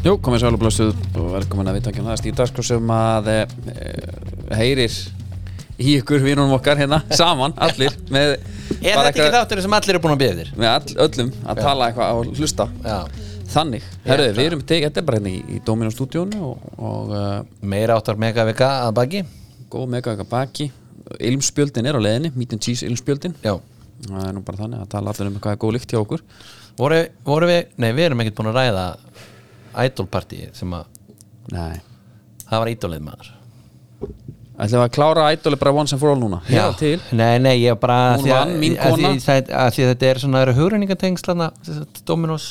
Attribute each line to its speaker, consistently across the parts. Speaker 1: Jú, komið sæl og blössuð og velkomin að viðtöngja um það Stíf Dagskrá sem að e, e, heyrir í ykkur vinnunum okkar hérna saman, allir með
Speaker 2: Er
Speaker 1: bara
Speaker 2: þetta ekki þátturinn sem allir eru búin að bíða þér?
Speaker 1: með all, öllum að tala eitthvað og hlusta
Speaker 2: Já.
Speaker 1: Þannig, herðu, við erum tekið, þetta er bara hérna í, í Dominó stúdíónu og, og uh,
Speaker 2: Meira áttar megavika að baki?
Speaker 1: góð mega eitthvað baki Ilmspjöldin er á leiðinni, Meat and Cheese Ilmspjöldin
Speaker 2: Já.
Speaker 1: Það er nú bara þannig að tala allir um hvað er góð lykt hjá okkur
Speaker 2: Voru, voru við, nei við erum ekkert búin að ræða idolparti sem að,
Speaker 1: Nei
Speaker 2: það var idolið maður.
Speaker 1: Ætlum við að klára ædoli bara once and for all núna Já, til
Speaker 2: Nei, nei, ég
Speaker 1: Hún
Speaker 2: bara, að því að-
Speaker 1: vann, mín
Speaker 2: að því
Speaker 1: kona.
Speaker 2: það- Að því að þetta er svona, eru hugreiningatengslana, Dominos,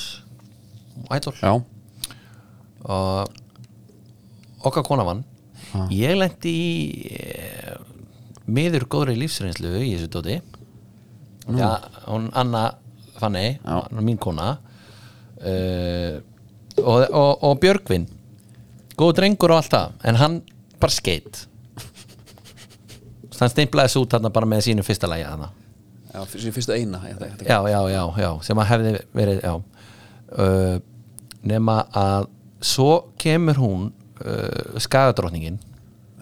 Speaker 2: idol
Speaker 1: Já,
Speaker 2: og okkar kona vann. Ég lendi í e, miður góðri lífsreynslu í þessu dóti Já, hún Anna Fanny,
Speaker 1: Já.
Speaker 2: hún er mín kona uh, og, og, og Björgvin góð drengur og allt það en hann bara skeitt hann stimplaði þessu út hann bara með sínu fyrsta lægi hann
Speaker 1: já fyrir fyrstu eina ég, ég,
Speaker 2: já, já, já, já, sem að hefði verið já, uh, nema að svo kemur hún uh, skagadrótningin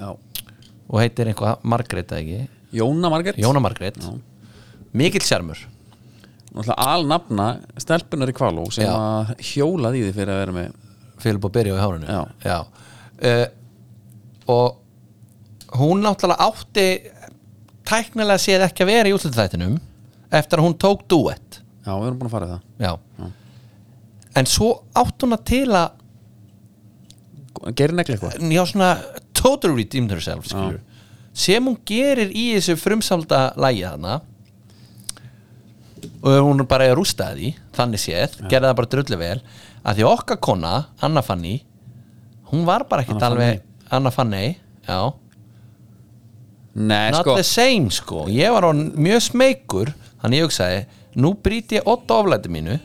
Speaker 1: Já.
Speaker 2: og heitir einhvað Margrét eða ekki,
Speaker 1: Jóna Margrét
Speaker 2: Jóna Margrét mikill sjarmur
Speaker 1: Náttúrulega alnafna stelpunar í Kvaló sem
Speaker 2: Já.
Speaker 1: að hjólaði í því fyrir að vera með
Speaker 2: Filip og Berjó í hárinu
Speaker 1: Já.
Speaker 2: Eh, og hún náttúrulega átti tæknilega séð ekki að vera í útlutþættinum eftir að hún tók duett
Speaker 1: Já, við erum búin að fara í það
Speaker 2: Já. en svo átti hún að til að
Speaker 1: Gerir negli eitthvað
Speaker 2: já svona totally redeemed herself skilur, sem hún gerir í þessu frumsalda lægi þarna og hún er bara að rústa því þannig séð, gerði það bara drullu vel að því okkar kona, Anna Fanny hún var bara ekkert
Speaker 1: Anna
Speaker 2: alveg Anna Fanny, já
Speaker 1: Nei,
Speaker 2: not
Speaker 1: sko
Speaker 2: the same sko, ég var orðinn mjög smeykur þannig ég hugsaði, nú brýti ég otta oflæti mínu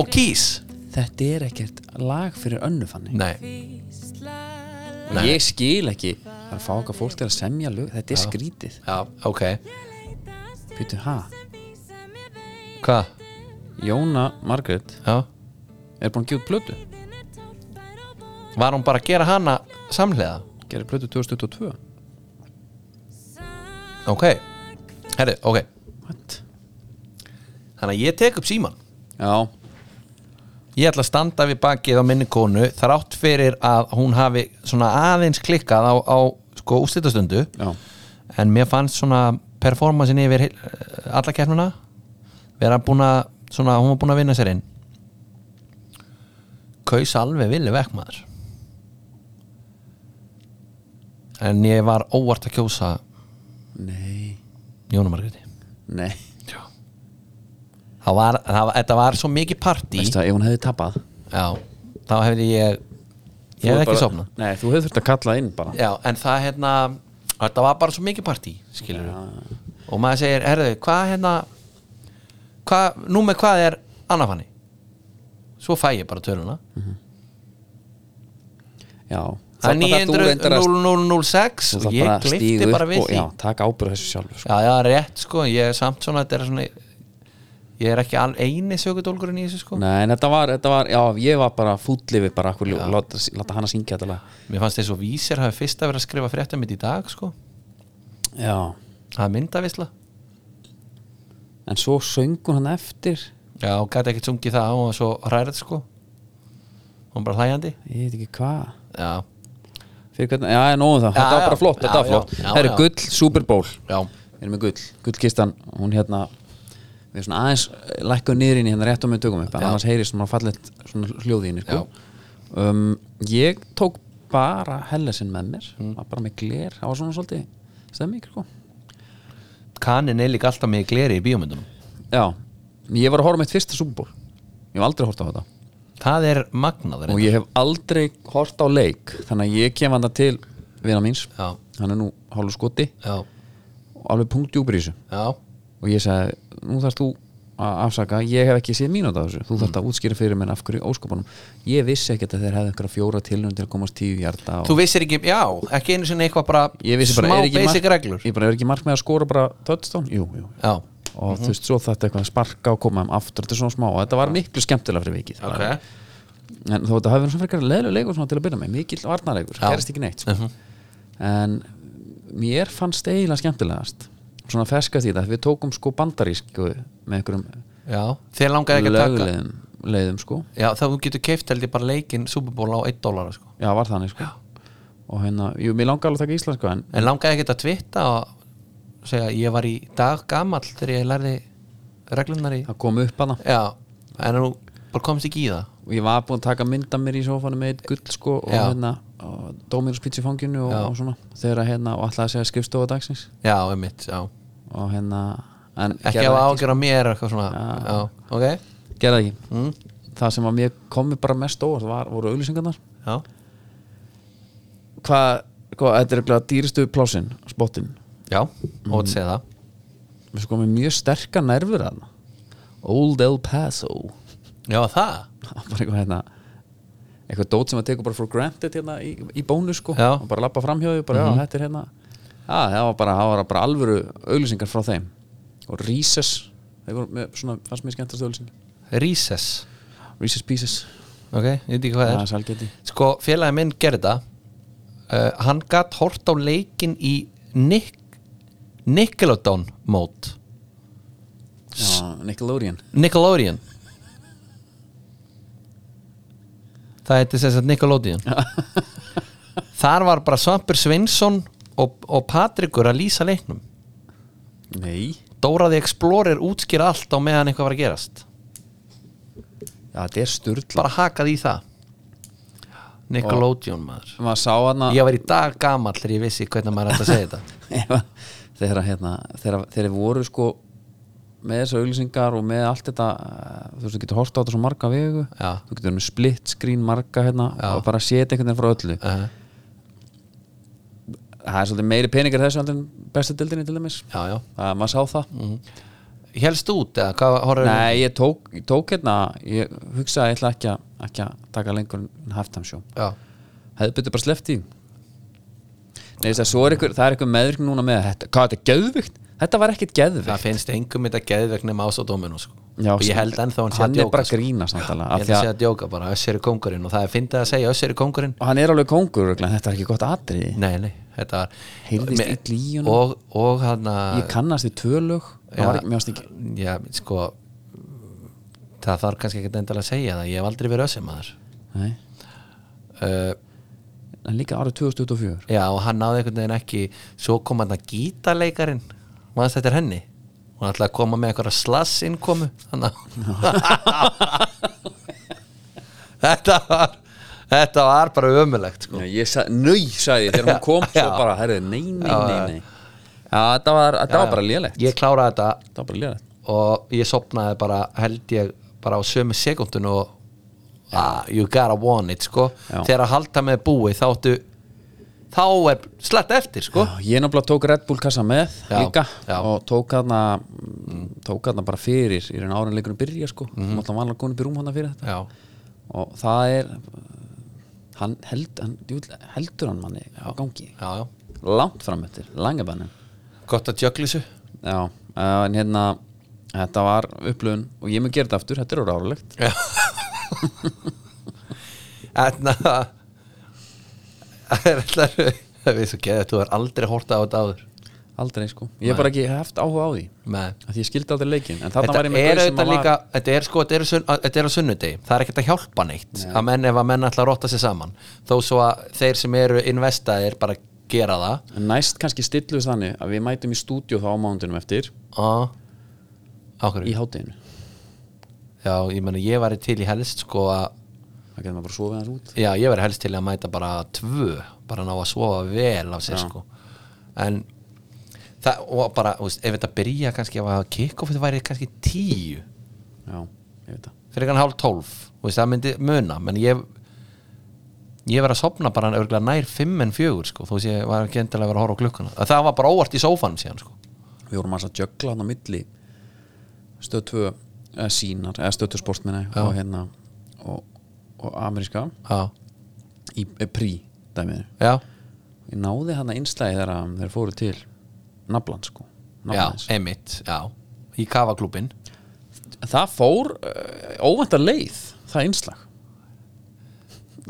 Speaker 2: og kýs
Speaker 1: Þetta er ekkert lag fyrir önnu fannig
Speaker 2: nei,
Speaker 1: Nei. Ég skil ekki Það er að fá okkar fólk til að semja lög Þetta er skrítið
Speaker 2: já, ok
Speaker 1: Pítu, ha?
Speaker 2: hvað,
Speaker 1: Jóna Margrét
Speaker 2: já
Speaker 1: er búin að gefa út plötu
Speaker 2: var hún bara að gera hana samhliða
Speaker 1: Gerir plötu 2022
Speaker 2: ok, herri, ok
Speaker 1: What?
Speaker 2: þannig að ég tek upp síman
Speaker 1: Já,
Speaker 2: ég ætla að standa við bakið á minni konu þrátt fyrir að hún hafi svona aðeins klikkað á, á sko ústýttastundu
Speaker 1: já
Speaker 2: en mér fannst svona performansin yfir heil- alla kernuna vera búin að svona, hún var búin að vinna sér inn kaus alveg villi vekk maður en ég var óvart að kjósa
Speaker 1: Nei,
Speaker 2: Jónu Margréti
Speaker 1: nei
Speaker 2: það var, það var, þetta var svo mikið partí
Speaker 1: Veistu að ef hún hefði tapað
Speaker 2: já, þá hefði ég ég hefði ekki sofna
Speaker 1: Nei, þú hefði þurft að kalla inn bara
Speaker 2: já, en það hérna þetta var bara svo mikið partí, skilur og maður segir, herðu, hvað hérna hvað, nú með hvað er annafanni svo fæ ég bara töluna
Speaker 1: Já
Speaker 2: það er
Speaker 1: Þarna þarft þú reyndar að-
Speaker 2: 9006
Speaker 1: þú
Speaker 2: og
Speaker 1: þarft
Speaker 2: ég
Speaker 1: að stíga
Speaker 2: glifti
Speaker 1: upp
Speaker 2: bara við
Speaker 1: og-
Speaker 2: því
Speaker 1: Já, taka ábyrðu þessu sjálfur sko.
Speaker 2: já, já, rétt sko, ég er samt svona þetta er svona ég er ekki all eini sögudólkurinn í þessu sko
Speaker 1: Nei, en þetta var, þetta var, já, ég var bara fúll yfir bara, akkur, láta, láta hana syngja þetta lag
Speaker 2: mér fannst þess að vísir hafi fyrst að vera að skrifa fréttum mitt í dag sko
Speaker 1: Já,
Speaker 2: Það er myndavisla
Speaker 1: en svo söng hún hann eftir
Speaker 2: Já, hún gæti ekkert sungið það hún var svo hrærið sko Hún var bara hlæjandi
Speaker 1: Ég veit ekki hvað
Speaker 2: Já,
Speaker 1: Fyrir hvernig, já, nóðum það,
Speaker 2: Já,
Speaker 1: þetta var
Speaker 2: já.
Speaker 1: bara flott, þetta
Speaker 2: Já,
Speaker 1: var flott
Speaker 2: já, já,
Speaker 1: Það eru
Speaker 2: já.
Speaker 1: gull Super Bowl
Speaker 2: já,
Speaker 1: Við erum með gull, gullkistan, hún hérna Við erum svona aðeins lækkuð niður inn í hérna rétt og með tökum upp en Annars heyrist svona fallegt svona hljóð í henni sko. um, Ég tók bara hellesinn með mér
Speaker 2: Mm.
Speaker 1: var bara með gler, það var svona svolítið stemming sko.
Speaker 2: kanin er líka alltaf með gleri í bíómyndunum
Speaker 1: Já, ég var að horfa á mitt fyrsta Super Bowl Ég hef aldrei hort á þetta
Speaker 2: Það er magnaður
Speaker 1: og ég hef aldrei hort á leik þannig að ég kem hann til vina míns
Speaker 2: Já.
Speaker 1: hann er nú hálfur skoti
Speaker 2: Já,
Speaker 1: og alveg punktjúpur í þessu
Speaker 2: já,
Speaker 1: og ég sagði, nú þarfst þú að afsaka ég hef ekki séð mínúta af þessu þú þarfst að útskýra fyrir mér af hverju óskapunum ég vissi ekkert að þeir hefðu einhverja fjóra tilnum til að komast tíu hjarta og
Speaker 2: þú vissir ekki Já, ekki einu sinni eitthvað bara,
Speaker 1: ég vissi bara,
Speaker 2: Smá
Speaker 1: er ekki
Speaker 2: basic
Speaker 1: mark-
Speaker 2: reglur
Speaker 1: ég bara er ekki mark með að skora bara touchdown, jú, jú
Speaker 2: Já, Mhm.
Speaker 1: og þú veist, svo þetta eitthvað að sparka og koma um aftur, þetta er svona smá og þetta var miklu skemmtilega fyrir vikið
Speaker 2: Ok.
Speaker 1: en þó að það hafi verið svona frekar leðlu leikur svona til að byrja með, mikill varnarleikur
Speaker 2: Já. Mhm.
Speaker 1: gerist ekki neitt sko. en mér fannst eiginlega skemmtilegast svona ferska því að við tókum sko bandarísku með einhverjum
Speaker 2: Já, þeir langaði ekki að taka
Speaker 1: lögleiðum leiðum sko,
Speaker 2: Já, þá þú getur keift held ég bara leikinn Super Bowl á 1 dólar sko.
Speaker 1: já var þannig sko og hérna, jú, mér langar alveg að taka íslensku en
Speaker 2: En langaði ekki að tvitta og segja ég var í dag gamall þegar ég lærði reglunar í
Speaker 1: það kom upp hana
Speaker 2: Já, en nú bara komst ekki í það
Speaker 1: og ég var búinn að taka mynda mér í sófanum með eitt gull sko og
Speaker 2: Já.
Speaker 1: hérna og dómir og spýtsi fanginu og,
Speaker 2: Já.
Speaker 1: og svona þegar að hérna og alltaf að segja skrifstofa dagsins
Speaker 2: Já, einmitt, já
Speaker 1: og hérna en
Speaker 2: Ekki
Speaker 1: gerði
Speaker 2: hafa ágjör á mér og eitthvað svona Já, ok
Speaker 1: ekki, gerði ekki.
Speaker 2: mm.
Speaker 1: það sem að mér komi bara mest óvart var, voru auglýsingarnar
Speaker 2: Já,
Speaker 1: hvað, hvað, þetta er eitthvað dýristu plásin spottin,
Speaker 2: já, mm. ótt segja það
Speaker 1: við sko með mjög sterka nervur hann Old El Paso
Speaker 2: Já, það
Speaker 1: bara eitthvað hérna eitthvað dót sem að tekur bara for granted hérna í, í bónu sko,
Speaker 2: Já.
Speaker 1: og bara lappa framhjóðu bara já, þetta er hérna já, það var bara, það var bara alvöru auglýsingar frá þeim og Reeses þeir voru með svona, fannst mér skemmtast auglýsing
Speaker 2: Recess
Speaker 1: Reeses Pieces,
Speaker 2: Ok, ég veit ekki hvað
Speaker 1: það
Speaker 2: það
Speaker 1: er
Speaker 2: er
Speaker 1: sælgeti
Speaker 2: Sko, félagi minn gerði það uh, Hann gatt hort á leikin í Nick, Nickelodeon mót
Speaker 1: já, Nickelodeon
Speaker 2: Nickelodeon Það heiti sem sagt Nickelodeon Þar var bara Svampur Sveinsson og, og Patrikur að lýsa leiknum
Speaker 1: nei,
Speaker 2: Dóraði Explorer útskýr allt á meðan eitthvað var að gerast
Speaker 1: já, þetta er styrla
Speaker 2: Bara hakað í það Nickelodeon maður
Speaker 1: maður sá hana
Speaker 2: Ég var í dag gamall þegar ég vissi hvernig maður ætti að segja þetta
Speaker 1: Ef- þegar að, hérna, þegar, þegar voru sko með þessar auglýsingar og með allt þetta eh, þú veist, þú getur horta á þetta svo marga vegu
Speaker 2: Já.
Speaker 1: þú getur með splitt skrín marga hérna
Speaker 2: Já.
Speaker 1: og bara setja einhvern veginn frá öllu
Speaker 2: uh,
Speaker 1: það er svolítið meiri peningar í þessu heldur en bestu dildinni til dæmis
Speaker 2: Já, já
Speaker 1: það, maður sá það
Speaker 2: Mm. Helst út eða hvað horfður
Speaker 1: nei, ég tók, ég tók hérna ég hugsaði að ég ætla ekki, að- ekki að taka lengur en halftime show
Speaker 2: Já,
Speaker 1: hefði betur bara sleppt í Nei, þess að svo er ykkur, það er ykkur meðvirkni núna með þetta, hvað þetta er geðvikt? Þetta var ekkert geðvikt
Speaker 2: það finnst engum þetta geðvegni með ásadóminu sko.
Speaker 1: Já,
Speaker 2: og ég held ennþá hann sé að
Speaker 1: er
Speaker 2: djóka
Speaker 1: bara
Speaker 2: sko.
Speaker 1: að grína samtala
Speaker 2: ég held að segja að djóka bara, Össur er kongurinn og það er fyndið að segja Össur er kongurinn
Speaker 1: og hann er alveg kongur örugglega, en þetta er ekki gott atriði
Speaker 2: nei, nei, þetta var
Speaker 1: Heyrðist
Speaker 2: Me-
Speaker 1: ill í honum.
Speaker 2: og, og hann
Speaker 1: ég kannast við tvö lög það var ekki mjög stingi
Speaker 2: já, sko það þarf kannski ekkert endilega að segja það ég hef aldrei verið Össur maður uh,
Speaker 1: en líka árið 2024
Speaker 2: já, og hann náði einhvern veginn ekki svo kom hann að gítaleikarin maður þetta er henni hún ætlaði að koma með eitthvað slass innkomu þannig að þetta var þetta var bara ömulegt sko.
Speaker 1: Já, ég sa, nöy sagði ég, þegar hún kom svo
Speaker 2: Já.
Speaker 1: bara, herri, nei, nei, nei, nei já, þetta var, þetta var bara lélegt
Speaker 2: ég kláraði þetta
Speaker 1: þetta var bara lélegt
Speaker 2: og ég sopnaði bara held ég bara á sömu sekundun og ah, you gotta want it sko
Speaker 1: Já.
Speaker 2: þegar að halda með búi þá áttu þá er slett eftir sko
Speaker 1: Já, ég náttúrulega tók Red Bull kassa með
Speaker 2: Já,
Speaker 1: líka
Speaker 2: já.
Speaker 1: og tók hana mm, tók hana bara fyrir í raun árin leikunum byrja sko, mm. náttúrulega vanlega konum byrjum hana fyrir þetta
Speaker 2: já,
Speaker 1: og það er hann, held, hann djúl, heldur hann manni á gangi
Speaker 2: já, já.
Speaker 1: langt fram eftir, langabannin
Speaker 2: gott að jökli þessu
Speaker 1: já, eh, en hérna þetta var upplöfun og ég mun gera þetta aftur, þetta er rárulegt
Speaker 2: en að það er alltaf það er svo geðið þú er aldrei hortað á þetta áður
Speaker 1: aldrei sko, ég hef bara ekki haft áhuga á því
Speaker 2: með
Speaker 1: að því ég skildi aldrei leikin en þarna
Speaker 2: Þetta
Speaker 1: var ég með
Speaker 2: er
Speaker 1: gaur sem
Speaker 2: auðvitað
Speaker 1: að
Speaker 2: líka, þetta er sko, þetta er, sunn, að- þetta er á sunnudegi, það er ekkert að hjálpa neitt að menn ef að menn ætla að rotta sér saman þó svo að þeir sem eru investaðir bara gera það
Speaker 1: var næst kannski stilluðs þannig að við mætum í stúdíu þá á mándunum eftir
Speaker 2: Á- á hverju?
Speaker 1: Ah. í hátinu
Speaker 2: Já, ég meni, ég væri til í helst sko að,
Speaker 1: það getur maður bara sofið hans út
Speaker 2: já, ég væri helst til í að mæta bara tvö, bara ná að sofa vel af sér sko en það, og bara, þú veist, ef þetta byrja kannski ef að kickoffið væri kannski tíu
Speaker 1: já, ég veit það
Speaker 2: fyrir kannan hálf tólf þú veist, það myndi muna menn ég ég verið að sopna bara örgulega nær fimm en fjögur sko, þú veist ég var ekki endilega að vera að horfa á klukkuna Að það var bara óvart í sófanum síðan sko.
Speaker 1: við vorum alltaf að jökla hann á milli stöð 2 eða sínar, eða stöð 2 sportminni og hérna og, og ameríska
Speaker 2: já,
Speaker 1: í e, prí dæmiður
Speaker 2: já,
Speaker 1: ég náði hann að einslægi þegar að þeir fóru til naflan sko
Speaker 2: já,
Speaker 1: Naflan hans.
Speaker 2: emitt já, í kafaklúbin
Speaker 1: eh, það fór uh, óvæntar leið það einslag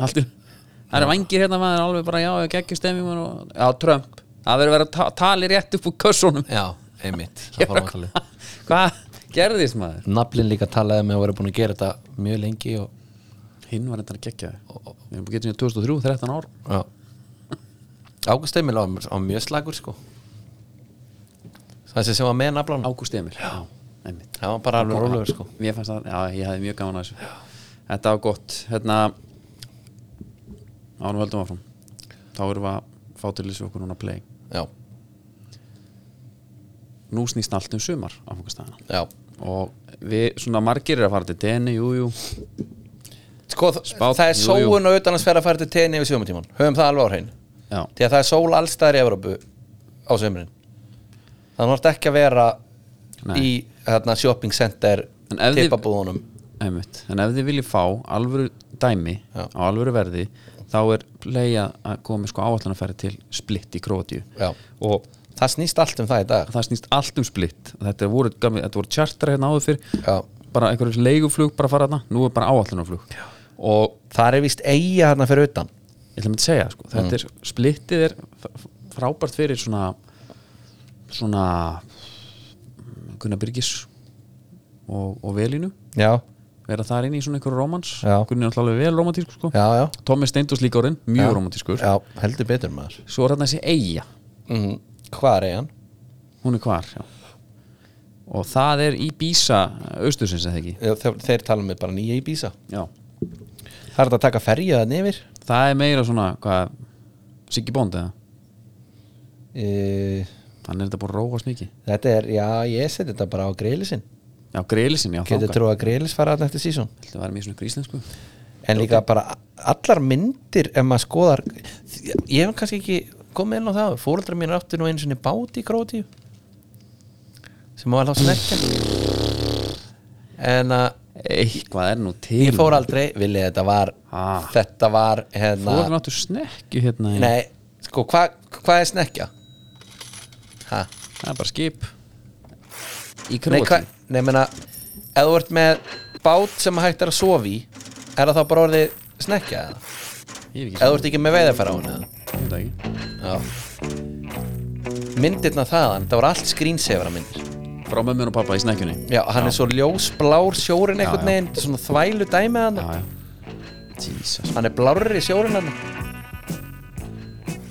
Speaker 1: allt í Það eru vangir hérna maður alveg bara já, ekki stemmingum og já, Trump Það verður að vera ta tali rétt upp úr kössunum
Speaker 2: já, einmitt
Speaker 1: Ég
Speaker 2: það
Speaker 1: bara,
Speaker 2: fór að tala
Speaker 1: Hvað hvað gerðist maður?
Speaker 2: naflin líka talaði með að vera búin að gera þetta mjög lengi og,
Speaker 1: Hinn var þetta að gegja Við erum getið 2003, 13 ár
Speaker 2: já Águst Emil á, á mjög slagur sko þessi sem var með naflan
Speaker 1: Ágúst Emil Mm. Já, einmitt
Speaker 2: það var bara alveg rólegur sko
Speaker 1: Mér fannst það, já, ég hafði mjög gaman að þessu Þetta var gott Hérna Ánum höldum áfram Þá erum við að fá til þessu okkur núna play
Speaker 2: já,
Speaker 1: Nú snýst allt um sumar áfangastæðina
Speaker 2: já
Speaker 1: Og við, svona margir er að fara til Deni, jú, jú
Speaker 2: sko,
Speaker 1: Spá-
Speaker 2: það er
Speaker 1: jú, jú.
Speaker 2: sóun og utan að sverja að fara til tenni við sjöfumatíman höfum það alveg á hrein
Speaker 1: Já,
Speaker 2: því að það er sól allstæðar í Evrópu á sömurinn þannig að það ekki að vera
Speaker 1: Nei.
Speaker 2: í hérna, shopping center
Speaker 1: En ef þið-
Speaker 2: tippabúðunum
Speaker 1: einmitt En ef þið viljið fá alvöru dæmi
Speaker 2: Já.
Speaker 1: Á alvöru verði Þá er play að að koma með sko áallan að færa til Splitt í Króatíu
Speaker 2: Já.
Speaker 1: Og
Speaker 2: það snýst allt um það í dag
Speaker 1: það snýst allt um Splitt Þetta voru, gamli- þetta voru charter hérna áður fyrr
Speaker 2: Já.
Speaker 1: bara einhverjum leiguflug bara að fara þarna nú er bara áallunarflug og
Speaker 2: það er vist eiga hérna fyrir utan
Speaker 1: ég ætla að segja sko, þetta er splittið er f- frábært fyrir svona svona Gunnar Byrgis og, og Velínu
Speaker 2: já,
Speaker 1: vera þar inn í svona einhverju rómans
Speaker 2: Já.
Speaker 1: Gunni er alltaf vel romantískur sko
Speaker 2: já, já,
Speaker 1: Tommi Steindós líka orðin, mjög romantískur
Speaker 2: já heldur betur maður
Speaker 1: svo er þarna þessi Eyja,
Speaker 2: mm. hvað er eigan?
Speaker 1: hún er hvar já. og það er í Bísa austursins eða ekki
Speaker 2: Þeir, þeir tala um bara nýja í bísa
Speaker 1: já.
Speaker 2: það er þetta að taka ferja það nefir
Speaker 1: það er meira svona hvað, Siggi Bond eða
Speaker 2: e,
Speaker 1: hann er þetta búin að róast mikið
Speaker 2: þetta er, já, ég seti þetta bara á greilisinn
Speaker 1: Já, greilisinn, já,
Speaker 2: getur
Speaker 1: þáka
Speaker 2: trú að greilis fara þarna eftir sísón
Speaker 1: Þetta var mjög svona ykkur íslensku
Speaker 2: en líka bara allar myndir ef maður skoðar ég hef kannski ekki komið inn á það fóreldrar mín áttu nú einu sinni bát í Krótíu sem var þá snerkja en að
Speaker 1: Eitthvað er nú til
Speaker 2: ég fór aldrei vilja þetta var
Speaker 1: Ah.
Speaker 2: þetta var hérna
Speaker 1: Fórum áttu snekju hérna í-
Speaker 2: nei, sko hvað hva er snerkja? Ha?
Speaker 1: Það er bara skip Í
Speaker 2: nei,
Speaker 1: króti
Speaker 2: hva, nei, menna ef þú ert með bát sem hægt er að sofa í er það þá bara orðið snerkja eða?
Speaker 1: Ég
Speaker 2: ef þú ert ekki með veiðarfæra á hún eða?
Speaker 1: veit ekki
Speaker 2: Já. Myndirna þaðan, það voru allt screensavera myndir
Speaker 1: Frá mömmun og pappa í snekjunni
Speaker 2: Já, hann er svo ljósblár sjórin einhvern veginn þetta er Svona þvælu dæmið hann
Speaker 1: Já, já Jesus
Speaker 2: Hann er blárri sjórin hann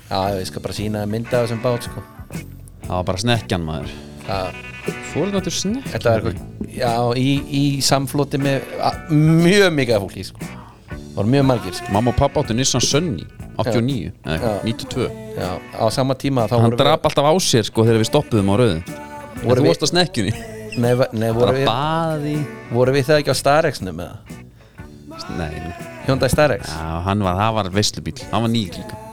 Speaker 2: Já, ég skal bara sína mynda af þessum bát sko
Speaker 1: Það var bara snekjan maður
Speaker 2: Já,
Speaker 1: Fórum áttu snekju
Speaker 2: Þetta var eitthvað Já, í, í samfloti með a, mjög mikið af fólki sko Það voru mjög margir sko
Speaker 1: Mamma og pappa áttu Nissan Sunny 89 eða
Speaker 2: Já.
Speaker 1: eitthvað, 92
Speaker 2: Já, á sama tíma þá
Speaker 1: Hann
Speaker 2: voru
Speaker 1: drap alltaf á sér sko þegar við stoppuðum á rauðin
Speaker 2: Voru
Speaker 1: Þú
Speaker 2: við-
Speaker 1: varst á snekjunni
Speaker 2: við, Nei, va- nei voru,
Speaker 1: Bara
Speaker 2: við,
Speaker 1: baði
Speaker 2: voru við það ekki á Starexnum eða?
Speaker 1: Nei, nei.
Speaker 2: Hyundai Starex
Speaker 1: Já, hann var, það var veslubíl Hann var nýr líka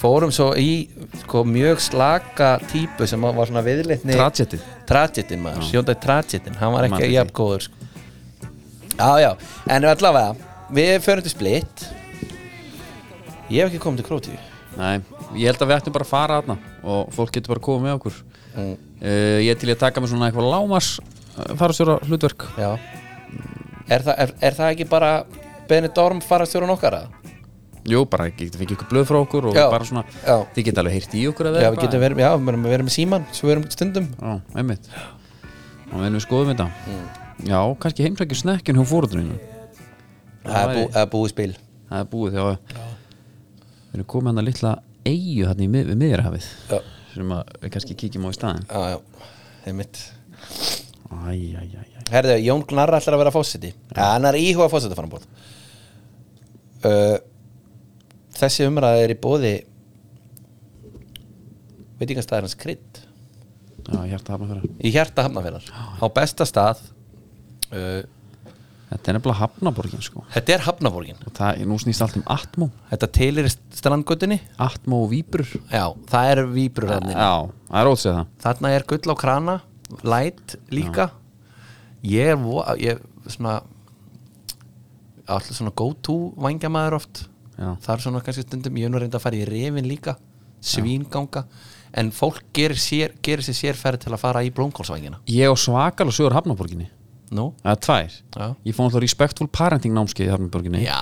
Speaker 2: fórum svo í sko, mjög slaka típu sem var svona viðleitni
Speaker 1: Tragetið
Speaker 2: Tragetin maður, sjóndaði Tragetin hann var
Speaker 1: Man
Speaker 2: ekki
Speaker 1: eftir
Speaker 2: jafn góður sko. já já, en allavega við förum til Split ég hef ekki komið til Krótíu
Speaker 1: Nei, ég held að við ættum bara að fara aðna og fólk getur bara að koma með okkur
Speaker 2: Mm.
Speaker 1: uh, Ég er til í að taka mig svona eitthvað lámas farastjóra hlutverk
Speaker 2: já er, þa er, er það ekki bara Benidorm farastjórun okkar að?
Speaker 1: Jú, bara ekki, þið fengið ykkur blöð frá okkur og
Speaker 2: Já,
Speaker 1: bara svona,
Speaker 2: já.
Speaker 1: þið geta alveg heyrt í okkur
Speaker 2: já, við getum verið, já, við erum, við erum með síman sem við erum stundum
Speaker 1: Já, einmitt og við erum við skoðum þetta
Speaker 2: Mm.
Speaker 1: Já, kannski heimsækjum snekkinn hjá fórundurinn
Speaker 2: það er, bú, það er búið spil
Speaker 1: Það er búið þegar við erum komið hann að litla eigu þarna í mið, við miðjarhafið
Speaker 2: já,
Speaker 1: sem að við kannski kíkjum á í staðin
Speaker 2: já, já, það er mitt
Speaker 1: Æ, æ, æ, æ
Speaker 2: Herðu, Jón Gnarr ætlar að vera fósiti ja, Hann er að íhuga fósiti framboð uh, Þessi umræði er í bóði Veitingastæðarins krydd
Speaker 1: Já, hjarta hafna fyrir
Speaker 2: Í hjarta hafnafélar Á besta stað uh,
Speaker 1: Þetta er nefnilega hafnaborgin sko
Speaker 2: Þetta er hafnaborgin
Speaker 1: og það, nú snýst allt um Atmo
Speaker 2: Þetta tilir strandgötunni
Speaker 1: Atmo og Víbrur
Speaker 2: Já, það er víbrur hann
Speaker 1: Já, það er ótsið það
Speaker 2: Þarna er gull á krana Light líka Ég er vo- ég, svona Alltaf svona go to vangjamaður oft
Speaker 1: Já.
Speaker 2: Það er svona kannski stundum Ég er nú reynda að fara í refin líka Svínganga En fólk gerir, sér, gerir sér sérferð til að fara í blómkálsvængina
Speaker 1: Ég og svakal og sögur Hafnaborginni
Speaker 2: Nú?
Speaker 1: eða tvær
Speaker 2: Já.
Speaker 1: ég fór alltaf respectful parenting námskeið í Hafnarborginni,
Speaker 2: Já,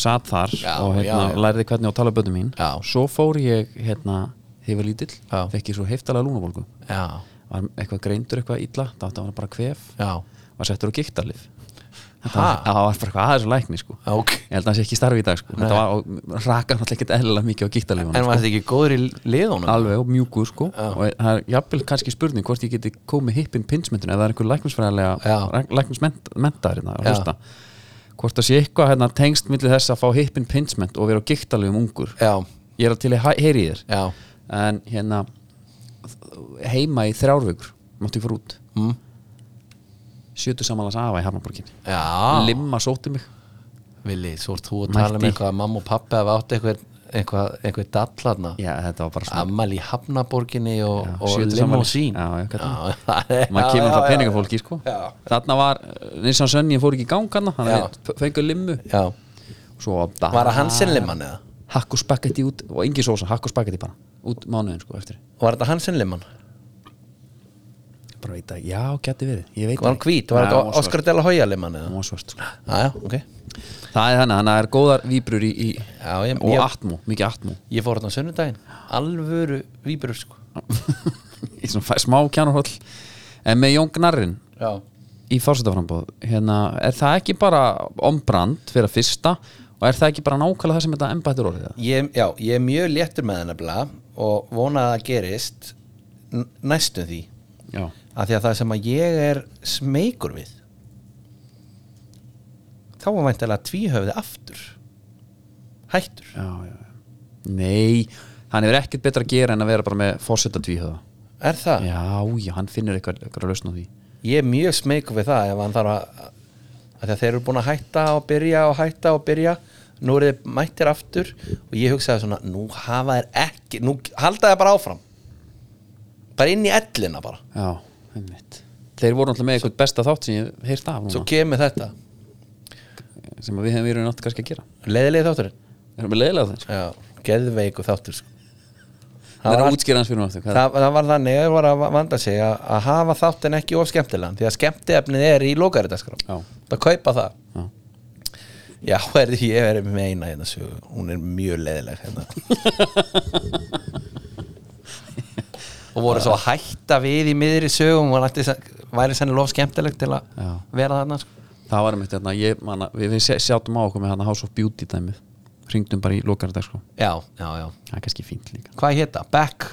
Speaker 1: satt þar
Speaker 2: Já,
Speaker 1: og hérna,
Speaker 2: já, já.
Speaker 1: lærði hvernig á að tala bönnum mín
Speaker 2: Já.
Speaker 1: svo fór ég hérna, þegar ég var lítill
Speaker 2: Já.
Speaker 1: fekk ég svo heftalega lúnavólgu
Speaker 2: já,
Speaker 1: var eitthvað greindur eitthvað illa þá átti að vera bara kvef
Speaker 2: já
Speaker 1: var settur á giktarlif það
Speaker 2: Ha?
Speaker 1: var, það var bara eitthvað aðeins og lækni sko.
Speaker 2: Já, ok.
Speaker 1: ég held að það sé ekki í starfi í dag sko. þetta var og raka náttúrulega ekkert eðlilega mikið á giktarlifunum
Speaker 2: En var þetta ekki góður í liðunum?
Speaker 1: alveg og mjúkur sko
Speaker 2: Já.
Speaker 1: og það er jafnvel kannski spurning hvort ég geti komið hippin pinsmyndun ef það er einhver læknisfræðilega
Speaker 2: Já.
Speaker 1: læknismentaðir hérna, að
Speaker 2: Já.
Speaker 1: hlusta. hvort það sé eitthvað hérna, tengst millir þess að fá hippin pinsmynd og vera á giktarlifum ungur
Speaker 2: Já,
Speaker 1: ég er að til að hæ- heyri í þér
Speaker 2: já,
Speaker 1: en hérna heima í þrjárvögur mátti ég fara út
Speaker 2: mm.
Speaker 1: sjötu samanlags afa í Hafnaborginni
Speaker 2: já
Speaker 1: limma sóti mig
Speaker 2: Vili, svo ert þú að tala um
Speaker 1: Mætti.
Speaker 2: eitthvað að mamma og pappi hafa átt eitthvað, eitthvað, eitthvað dallarna
Speaker 1: já, þetta var bara svona
Speaker 2: Ammal í Hafnaborginni og,
Speaker 1: Já,
Speaker 2: og
Speaker 1: sjötugsafmælis.
Speaker 2: limósín
Speaker 1: Já, já, hvernig?
Speaker 2: það er-
Speaker 1: maður kemur
Speaker 2: já,
Speaker 1: alltaf
Speaker 2: já,
Speaker 1: peningafólki sko.
Speaker 2: Já.
Speaker 1: þarna var Nissan Sönni fór ekki í gang hann þannig
Speaker 2: Já.
Speaker 1: að við fengið limmu
Speaker 2: Já,
Speaker 1: svo bara
Speaker 2: var það hans innlimann eða?
Speaker 1: hakk og spagetti út og engin sósa hakk og spagetti bara út mánuðin sko eftir
Speaker 2: Var þetta hans innlimann?
Speaker 1: bara veit að já geti verið ég veit
Speaker 2: Var hann
Speaker 1: ekki.
Speaker 2: hvít? Var
Speaker 1: Nei, hún
Speaker 2: þetta
Speaker 1: svört.
Speaker 2: Oscar de la Hoya limann
Speaker 1: Hún
Speaker 2: eða?
Speaker 1: var svört, sko.
Speaker 2: Já, já, ok
Speaker 1: það er þannig þannig að það er góðar víbrur í, í
Speaker 2: Já, ég-
Speaker 1: og
Speaker 2: ég-
Speaker 1: atmú mikið atmú
Speaker 2: Ég fór hérna á sunnudaginn, alvöru víbrur sko
Speaker 1: í svona fæ- smá kjánurhóll en með Jón Gnarrin
Speaker 2: Já,
Speaker 1: í fórsetaframbóð hérna, er það ekki bara ombrand fyrir að fyrsta og er það ekki bara nákvæmlega það sem þetta embættur orðið eða?
Speaker 2: ég, já, ég er mjög léttur með hennar bla og vona að það gerist n- næstum því
Speaker 1: já,
Speaker 2: af því að það sem að ég er smeykur við þá var væntalega tvíhöfði aftur hættur
Speaker 1: já, já, já nei, hann hefur ekkert betra að gera en að vera bara með fórseta tvíhöða
Speaker 2: er það?
Speaker 1: já, já, hann finnur eitthvað, eitthvað að lausna því
Speaker 2: ég er mjög smeykur við það ef hann þarf að, að því að þeir eru búin að hætta og byrja og hætta og byrja nú eru þeir mættir aftur og ég hugsaði svona, nú hafa þeir ekki nú halda þeir bara áfram bara inn í ellina bara
Speaker 1: já, einmitt þeir voru alltaf með eitthvað besta þátt sem ég heyrst af
Speaker 2: svo
Speaker 1: núna,
Speaker 2: kemur þetta
Speaker 1: sem að við hefum verið nátt kannski að gera
Speaker 2: leiðilegi þátturinn
Speaker 1: erum við leiðilega það, sko.
Speaker 2: Já, geðveiku þáttur sko.
Speaker 1: það
Speaker 2: það,
Speaker 1: er
Speaker 2: var,
Speaker 1: að útskýra hans fyrir náttúrulega
Speaker 2: það, það var þannig að var að vanda sig að, að hafa þáttin ekki of skemmtilegan því að skemmtiefnið er í lókaritaskram
Speaker 1: Já.
Speaker 2: það kaupa það
Speaker 1: Já.
Speaker 2: Já, er, ég er með eina hérna sögu hún er mjög leiðileg hérna. og voru svo að hætta við í miðri sögum og ætti, væri sennilega of skemmtileg til að
Speaker 1: Já.
Speaker 2: vera þarna sko.
Speaker 1: Það var einmitt hérna, ég, manna, við, við sjá- sjátum á okkur með hérna House of Beauty dæmið Ringdum bara í lokardag sko
Speaker 2: Já, já, já
Speaker 1: Það er kannski fínt líka
Speaker 2: Hvað hétta? Back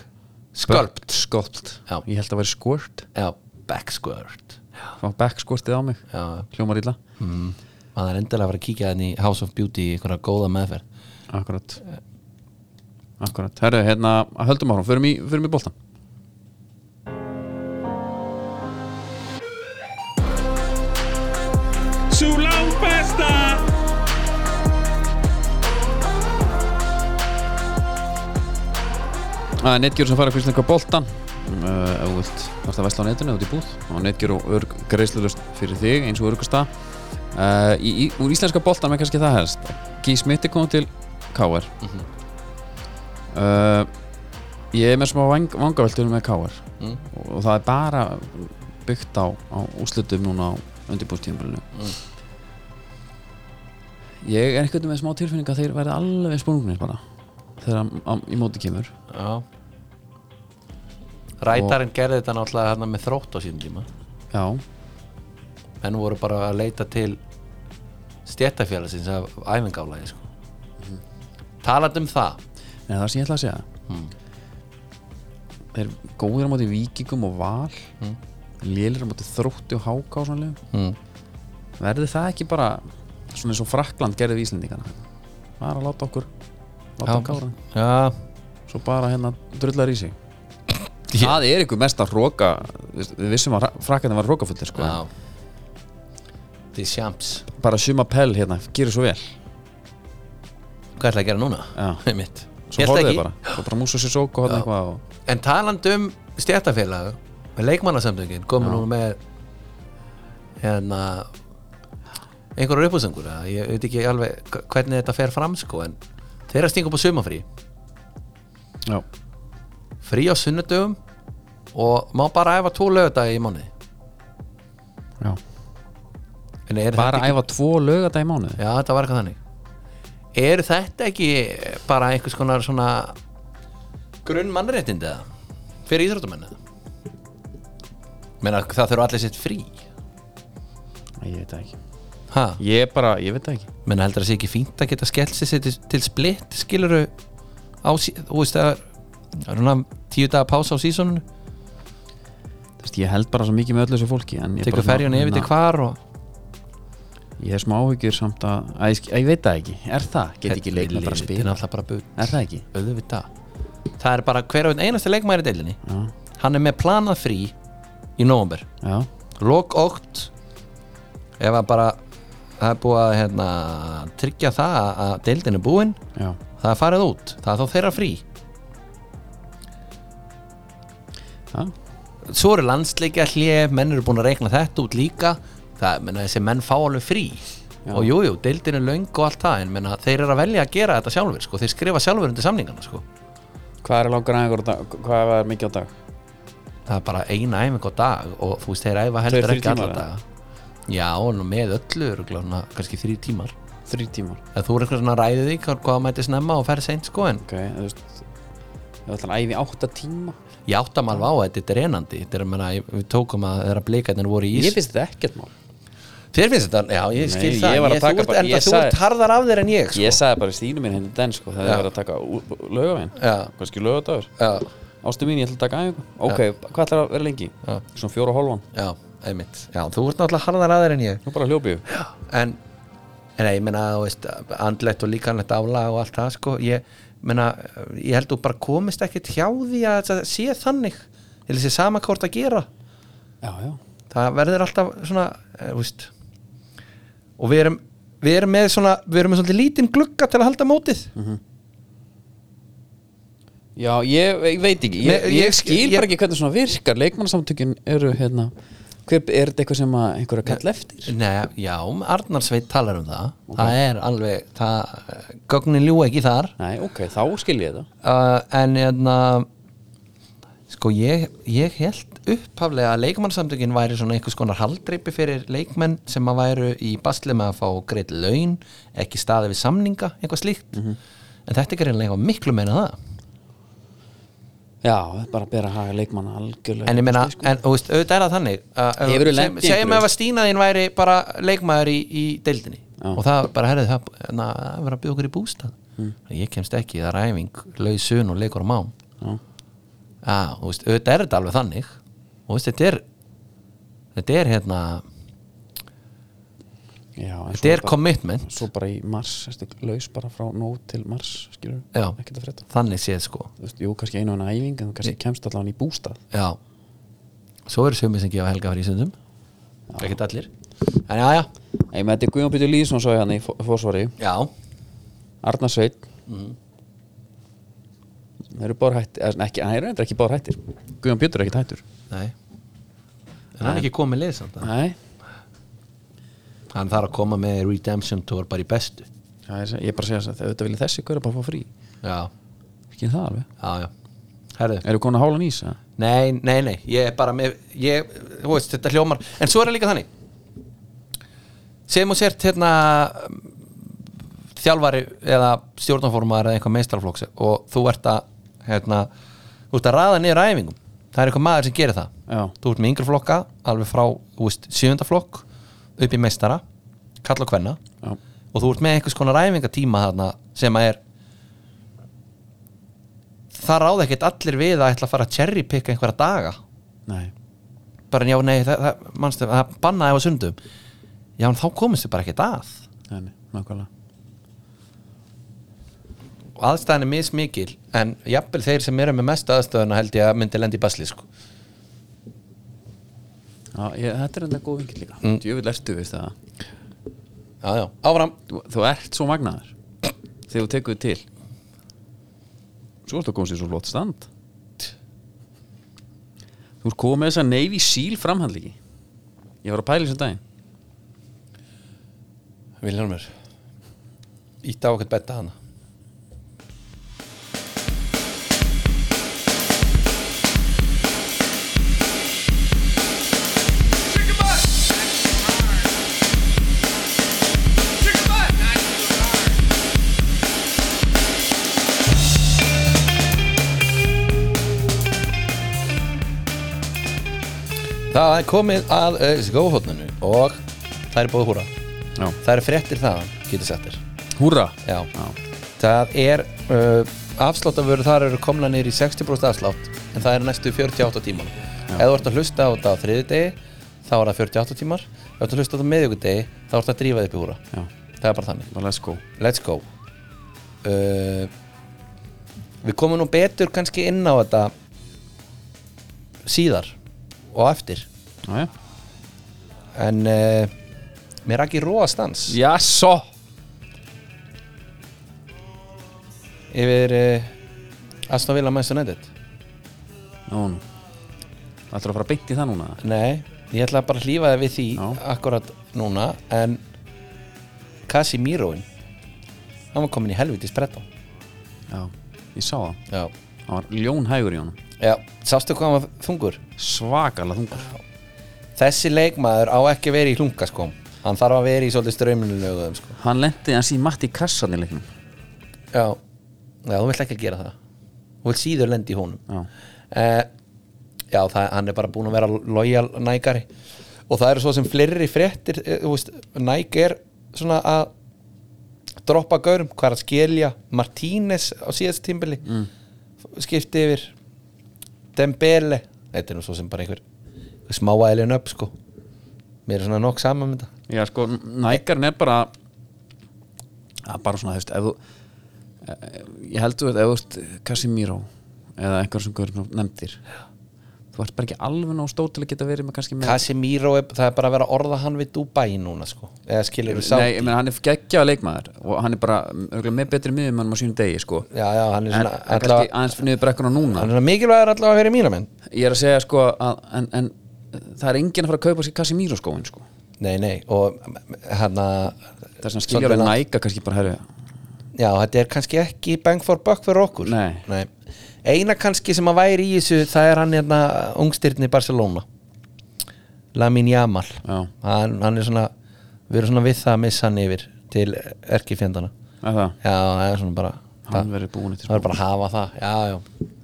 Speaker 2: Skulpt
Speaker 1: Skolpt
Speaker 2: Já.
Speaker 1: Ég held að vera skort
Speaker 2: Já, back squirt Já,
Speaker 1: Það var back skortið á mig
Speaker 2: já
Speaker 1: Hljómar illa
Speaker 2: mm. maður er endilega að fara að kíkja þenni í House of Beauty í einhverja góða meðferð
Speaker 1: Akkurat Akkurat Herru, hérna, höldum áfram Förum í, förum í boltan
Speaker 3: Sú langt besta
Speaker 1: Það er netgjur sem fara að kvistlega boltan uh, Ef þú vilt Þarst að vesla á netinu út í búð Og netgjur og örg greiðslulust fyrir þig Eins og örgasta uh, í, í, Úr íslenska boltan með kannski það helst Gí Smitti kom til KR uh, Ég er með smá vang, vangaveltur með KR
Speaker 2: Mm.
Speaker 1: og, og það er bara byggt á, á úslutum núna á undirbúðstíðanbælinu Ég er einhvern veginn með smá tilfinning að þeir verði alveg spónungnir bara þegar að- að- í móti kemur
Speaker 2: Já Rætarinn gerði þetta náttúrulega hérna með þrótt á sínum tíma
Speaker 1: Já,
Speaker 2: menn voru bara að leita til stjættafélagsins af æfingálaði sko. mm.
Speaker 1: Mhm.
Speaker 2: talandi um það
Speaker 1: Nei, það sem ég ætla að segja Þeir góðir á móti vikingum og val mm. Lélir á móti þrótti og háka og svona liðum
Speaker 2: mm.
Speaker 1: Verði það ekki bara svona eins og Frakland gerði við Íslendingana Bara að láta okkur Láta okkur kára
Speaker 2: Já,
Speaker 1: Svo bara hérna drullar í sig Það er ykkur mest að roka Við vissum að frakkarnir var rókafullir sko.
Speaker 2: já. Þið sjamps
Speaker 1: Bara suma pell hérna, gerir svo vel
Speaker 2: Hvað ætlaði að gera núna?
Speaker 1: Já.
Speaker 2: Einmitt.
Speaker 1: Svo
Speaker 2: Ég ætla
Speaker 1: horfðu
Speaker 2: ekki.
Speaker 1: þeir bara Svo bara músa sér sóku og hérna eitthvað og...
Speaker 2: En taland um stjættafélag með leikmannasamtökin komum nú með hérna einhverjar uppásengur ég veit ekki alveg hva- hvernig þetta fer fram sko en þeirra stinga upp á sumafrí
Speaker 1: Já,
Speaker 2: frí á sunnudögum og má bara æfa tvo lögudagi í mánuði
Speaker 1: já
Speaker 2: En er
Speaker 1: bara
Speaker 2: þetta
Speaker 1: að æfa tvo lögata í mánuði
Speaker 2: Já, þetta var eitthvað þannig Er þetta ekki bara einhvers konar svona grunn mannréttindi eða fyrir íþróttamenn eða? Meina, það þurfa allir sitt frí
Speaker 1: Æ, ég veit það ekki
Speaker 2: ha?
Speaker 1: ég bara, ég veit það ekki
Speaker 2: Meina, heldur það sé ekki fínt að geta skellt sér til, til splitt skiluru á, sí- þú veist það er það er svona tíu daga pása á sísoninu
Speaker 1: Þú veist, ég held bara svo mikið með öllu þessu fólki en ég
Speaker 2: tekur
Speaker 1: bara-
Speaker 2: ferjun yfir til
Speaker 1: na-
Speaker 2: hvar og
Speaker 1: ég hef smá áhyggjur samt að, að, ég, sk- að ég veit það ekki, er það, get ekki leikmenn bara að
Speaker 2: Þetta er
Speaker 1: spila
Speaker 2: náttúrulega bara bull
Speaker 1: er það ekki,
Speaker 2: auðvitað það er bara hver og einn einasta leikmæri í deilinni
Speaker 1: já,
Speaker 2: hann er með planað frí í nóvumber
Speaker 1: já
Speaker 2: lok 8 ef að bara það er búið að hérna, tryggja það að- að deildin er búin
Speaker 1: já,
Speaker 2: það er farið út, það er þá þeirra frí
Speaker 1: já,
Speaker 2: svo eru landsleikja hlje, menn eru búin að reikna þetta út líka það, menna, þessi menn fá alveg frí
Speaker 1: Já.
Speaker 2: og jújú, jú, deildin er löng og allt það en menna, þeir eru að velja að gera þetta sjálfur sko. þeir skrifa sjálfur undir samningana sko.
Speaker 1: hvað er langar aðeins hvað er mikið á dag
Speaker 2: það er bara eina æfing á dag og þú veist, þeir æfa
Speaker 1: Tveir,
Speaker 2: heldur
Speaker 1: þrír
Speaker 2: ekki alla
Speaker 1: tímar,
Speaker 2: daga já, og með öllu eru glána, kannski þrý tímar
Speaker 1: þrý tímar,
Speaker 2: að þú er eitthvað svona ræðið því hvað hvað mæti snemma og ferð seint sko en
Speaker 1: ok, þú veist ég ætla að æfi átta tíma
Speaker 2: ég átta maður á að þetta er drenandi þetta er að menna, ég- við tókum að þeirra blikarnir voru í ís
Speaker 1: ég finnst þetta ekkert mál
Speaker 2: þér finnst þetta, já ég
Speaker 1: Nei,
Speaker 2: skil
Speaker 1: ég
Speaker 2: það
Speaker 1: var að taka
Speaker 2: þú ert,
Speaker 1: bara-
Speaker 2: enda,
Speaker 1: ég
Speaker 2: þú
Speaker 1: sagði-
Speaker 2: ert harðar af þér en ég sko.
Speaker 1: ég sagði bara í stínu mín henni den sko þegar
Speaker 2: Já.
Speaker 1: það er að taka lögavinn
Speaker 2: Já.
Speaker 1: kannski lögadagur
Speaker 2: já,
Speaker 1: ástu mín ég ætla að taka aðeins ok, hvað ætlar að vera lengi
Speaker 2: Já.
Speaker 1: svona fjóra og hálfan
Speaker 2: já, einmitt já, þú ert náttúrulega harðar af þér en ég
Speaker 1: nú bara hljópið
Speaker 2: en, en ég menna, þú veist andlegt og líkanlegt álag og allt það sko ég, menna, ég held þú bara komist ekkert hjá því að þetta sé þannig til þessi sama hvort að gera
Speaker 1: já, já
Speaker 2: það verður alltaf svona eh, þú veist og við erum, við erum með svona við erum með svolítið lítinn glugga til að halda mótið
Speaker 1: já, ég, ég veit ekki ég,
Speaker 2: Nei,
Speaker 1: ég,
Speaker 2: ég-
Speaker 1: skil
Speaker 2: ég-
Speaker 1: bara ekki hvernig svona virkar leikmannasamtökin eru hérna hver, er þetta eitthvað sem að einhverja kall eftir
Speaker 2: Nei, já, Arnar Sveit talar um það það er alveg það, gögnin ljú ekki þar
Speaker 1: nei, ok, þá skil ég þetta
Speaker 2: uh, en hérna sko ég, ég held upphaflega að leikmannsamtökin væri svona einhvers konar haldreipi fyrir leikmenn sem að væru í basli með að fá greitt laun ekki staði við samninga, eitthvað slíkt
Speaker 1: Mhm.
Speaker 2: en þetta er greinlega eitthvað miklu meina það
Speaker 1: já, það er bara að bera að haga leikmanna algjörlega
Speaker 2: en ég meina, en, þú veist, auðvitað er það þannig að-
Speaker 1: sko. Hefurðu
Speaker 2: sem-
Speaker 1: lent í
Speaker 2: segjum
Speaker 1: einhverju?
Speaker 2: ef að Stína þín væri bara leikmaður í, í deildinni
Speaker 1: Já. Mm.
Speaker 2: og það bara herðið það na, það verður að byggja okkur í bústað ég kemst ekki, það er æfing lausun og leikur á mám
Speaker 1: Já.
Speaker 2: Já, þú veist, auðvitað er þetta alveg þannig og þú veist, þetta er þetta er hérna,
Speaker 1: já, en
Speaker 2: þetta
Speaker 1: svo,
Speaker 2: er commitment
Speaker 1: svo bara í mars ertu laus bara frá nót til mars skilur,
Speaker 2: Já.
Speaker 1: ekkert að frétta
Speaker 2: þannig séð sko
Speaker 1: Þú veist, jú, kannski einu og eina æfing en þú kannski kemst allan í bústað
Speaker 2: já, svo eru sömu sem gefa helga fyrir í sundum ekki allir en já, já,
Speaker 1: Nei, með þetta er Guðjón Pítur Lýðsson svo hérna í fó- fósvari
Speaker 2: já Mhm.
Speaker 1: Arnar Sveit Þeir eru báður hættir eða, ekki, Það eru endur ekki báður hættir Guðjón Pítur er ekkert hættur
Speaker 2: Nei En hann er ekki komið lið samt að-
Speaker 1: Nei,
Speaker 2: Hann þarf að koma með Redemption Tour bara í bestu
Speaker 1: það er, ég er bara að segja þess að þegar þetta vilja þessi Guðjón bara fá frí
Speaker 2: Já,
Speaker 1: Ekki það alveg
Speaker 2: já, já Herðu
Speaker 1: Eru konar hálan ís? eða?
Speaker 2: Nei, nei, nei, ég er bara með ég, þú veist, Þetta hljómar En svo er það líka þannig Sem og sért hérna um, Þjálfari eða stjórnarformaður eða eitthvað meistarflóks Og þú ert að hérna, Þú ert að raða niður æfingum Það er eitthvað maður sem gerir það
Speaker 1: Já,
Speaker 2: þú ert með yngri flokka alveg frá þú veist, sjöfunda flokk upp í meistara, kalla og kvenna
Speaker 1: já,
Speaker 2: og þú ert með einhvers konar æfingatíma þarna sem að er það ráða ekkert allir við að ætla að fara að cherrypicka einhverja daga
Speaker 1: nei
Speaker 2: bara en já, nei, það, það, manstu, það bannaði á sundum já, en þá komist þau bara ekkert að
Speaker 1: Nei, nei, nákvæmlega
Speaker 2: og aðstæðan er mismikil en jafnvel þeir sem eru með mesta aðstöðuna held ég að myndi lendi í basli sko.
Speaker 1: já, ég, Þetta er enda góð vingill líka
Speaker 2: Mm.
Speaker 1: Djöfull ertu, veist það
Speaker 2: já, já, áfram
Speaker 1: þú, þú ert svo magnaður Þegar þú tekur þig til Svo ertu að komast í svo flott stand Þú ert komið með þessa Navy Seal framhandliki Ég var að pæla þessu um daginn
Speaker 2: Vilhelmur Ítta á okkur betta hana er komið að skóhóttninu og það er búið húra
Speaker 1: Já.
Speaker 2: það er fréttir þaðan, getur sett þér
Speaker 1: Húra
Speaker 2: Já. það er uh, afsláttavöru þar eru komna niður í 60% afslátt en það er næstu 48 tímar ef þú ert að hlusta á þetta á þriðudegi þá er það 48 tímar ef þú ert að hlusta á þetta á miðvikudegi þá ert að drífa þig upp í húra
Speaker 1: Já,
Speaker 2: það er bara þannig
Speaker 1: bara let's go
Speaker 2: Let's go uh, Við komum nú betur kannski inn á þetta síðar og á eftir
Speaker 1: Já, já
Speaker 2: en uh, mér er ekki róa stans
Speaker 1: Jassó
Speaker 2: yfir uh, Aston Villa Manchester United
Speaker 1: Nú, nú Það ætlar að fara beint í það núna
Speaker 2: Nei, ég ætla bara að hlífa það við því
Speaker 1: Já.
Speaker 2: akkurat núna en Casimiroin hann var komin í helviti spretta
Speaker 1: Já, ég sá það
Speaker 2: Já,
Speaker 1: Það var ljónhægur í honum
Speaker 2: Já. sástu hvað hann var þungur
Speaker 1: Svakalega þungur
Speaker 2: Þessi leikmaður á ekki að vera í hlunga sko Hann þarf að vera í svolítið strömmunulegu sko.
Speaker 1: Hann lendi hans í matti kassan í leiknum
Speaker 2: Já Já, þú vilt ekki að gera það Þú vilt síður lendi í honum
Speaker 1: Já,
Speaker 2: eh, Já, það, hann er bara búin að vera lojal nægari Og það eru svo sem fleiri fréttir eh, þú veist, Næg er svona að droppa gaurum, hvað er að skilja Martínez á síðast tímbili mm. skipti yfir Dembele Þetta er nú svo sem bara einhver smáæðilin upp sko Mér er svona nokk saman með þetta
Speaker 1: já sko, nækarn er bara að bara svona, þú veist ef þú, eh, ég heldur þetta, ef þú veist Casimiro eða eitthvað sem guður nefndir þú ert bara ekki alveg nóg stóð til að geta verið með kannski með
Speaker 2: Casemiro, er- það er bara að vera að orða hann við Dubai núna sko eða skilur við sá
Speaker 1: Nei, ég meina, hann er geggjaða leikmaður og hann er bara örugglega með betri miðum hann á sínum degi, sko
Speaker 2: já, já, hann
Speaker 1: en, en
Speaker 2: er svona,
Speaker 1: kannski
Speaker 2: allavega,
Speaker 1: aðeins niður brekkuna núna
Speaker 2: hann er svona mikilvægur allavega fyrir mína menn
Speaker 1: ég er að segja, sko, að, en, en það er enginn að fara að kaupa sér Casimiro skóin, sko
Speaker 2: nei, nei, og hann að
Speaker 1: það er svona skiljar að
Speaker 2: Svolítið
Speaker 1: næka kannski bara herri
Speaker 2: já, þetta er kannski ekki bang for buck fyrir okkur
Speaker 1: Nei.
Speaker 2: eina kannski sem að væri í þessu það er hann hérna ungstyrni Barcelona Lamin Jamal
Speaker 1: Já.
Speaker 2: hann, hann er svona við erum svona við það að missa hann yfir til erkifjendana
Speaker 1: að það,
Speaker 2: já, það er svona bara það,
Speaker 1: hann verður búin eftir
Speaker 2: það er bara að hafa það, já, já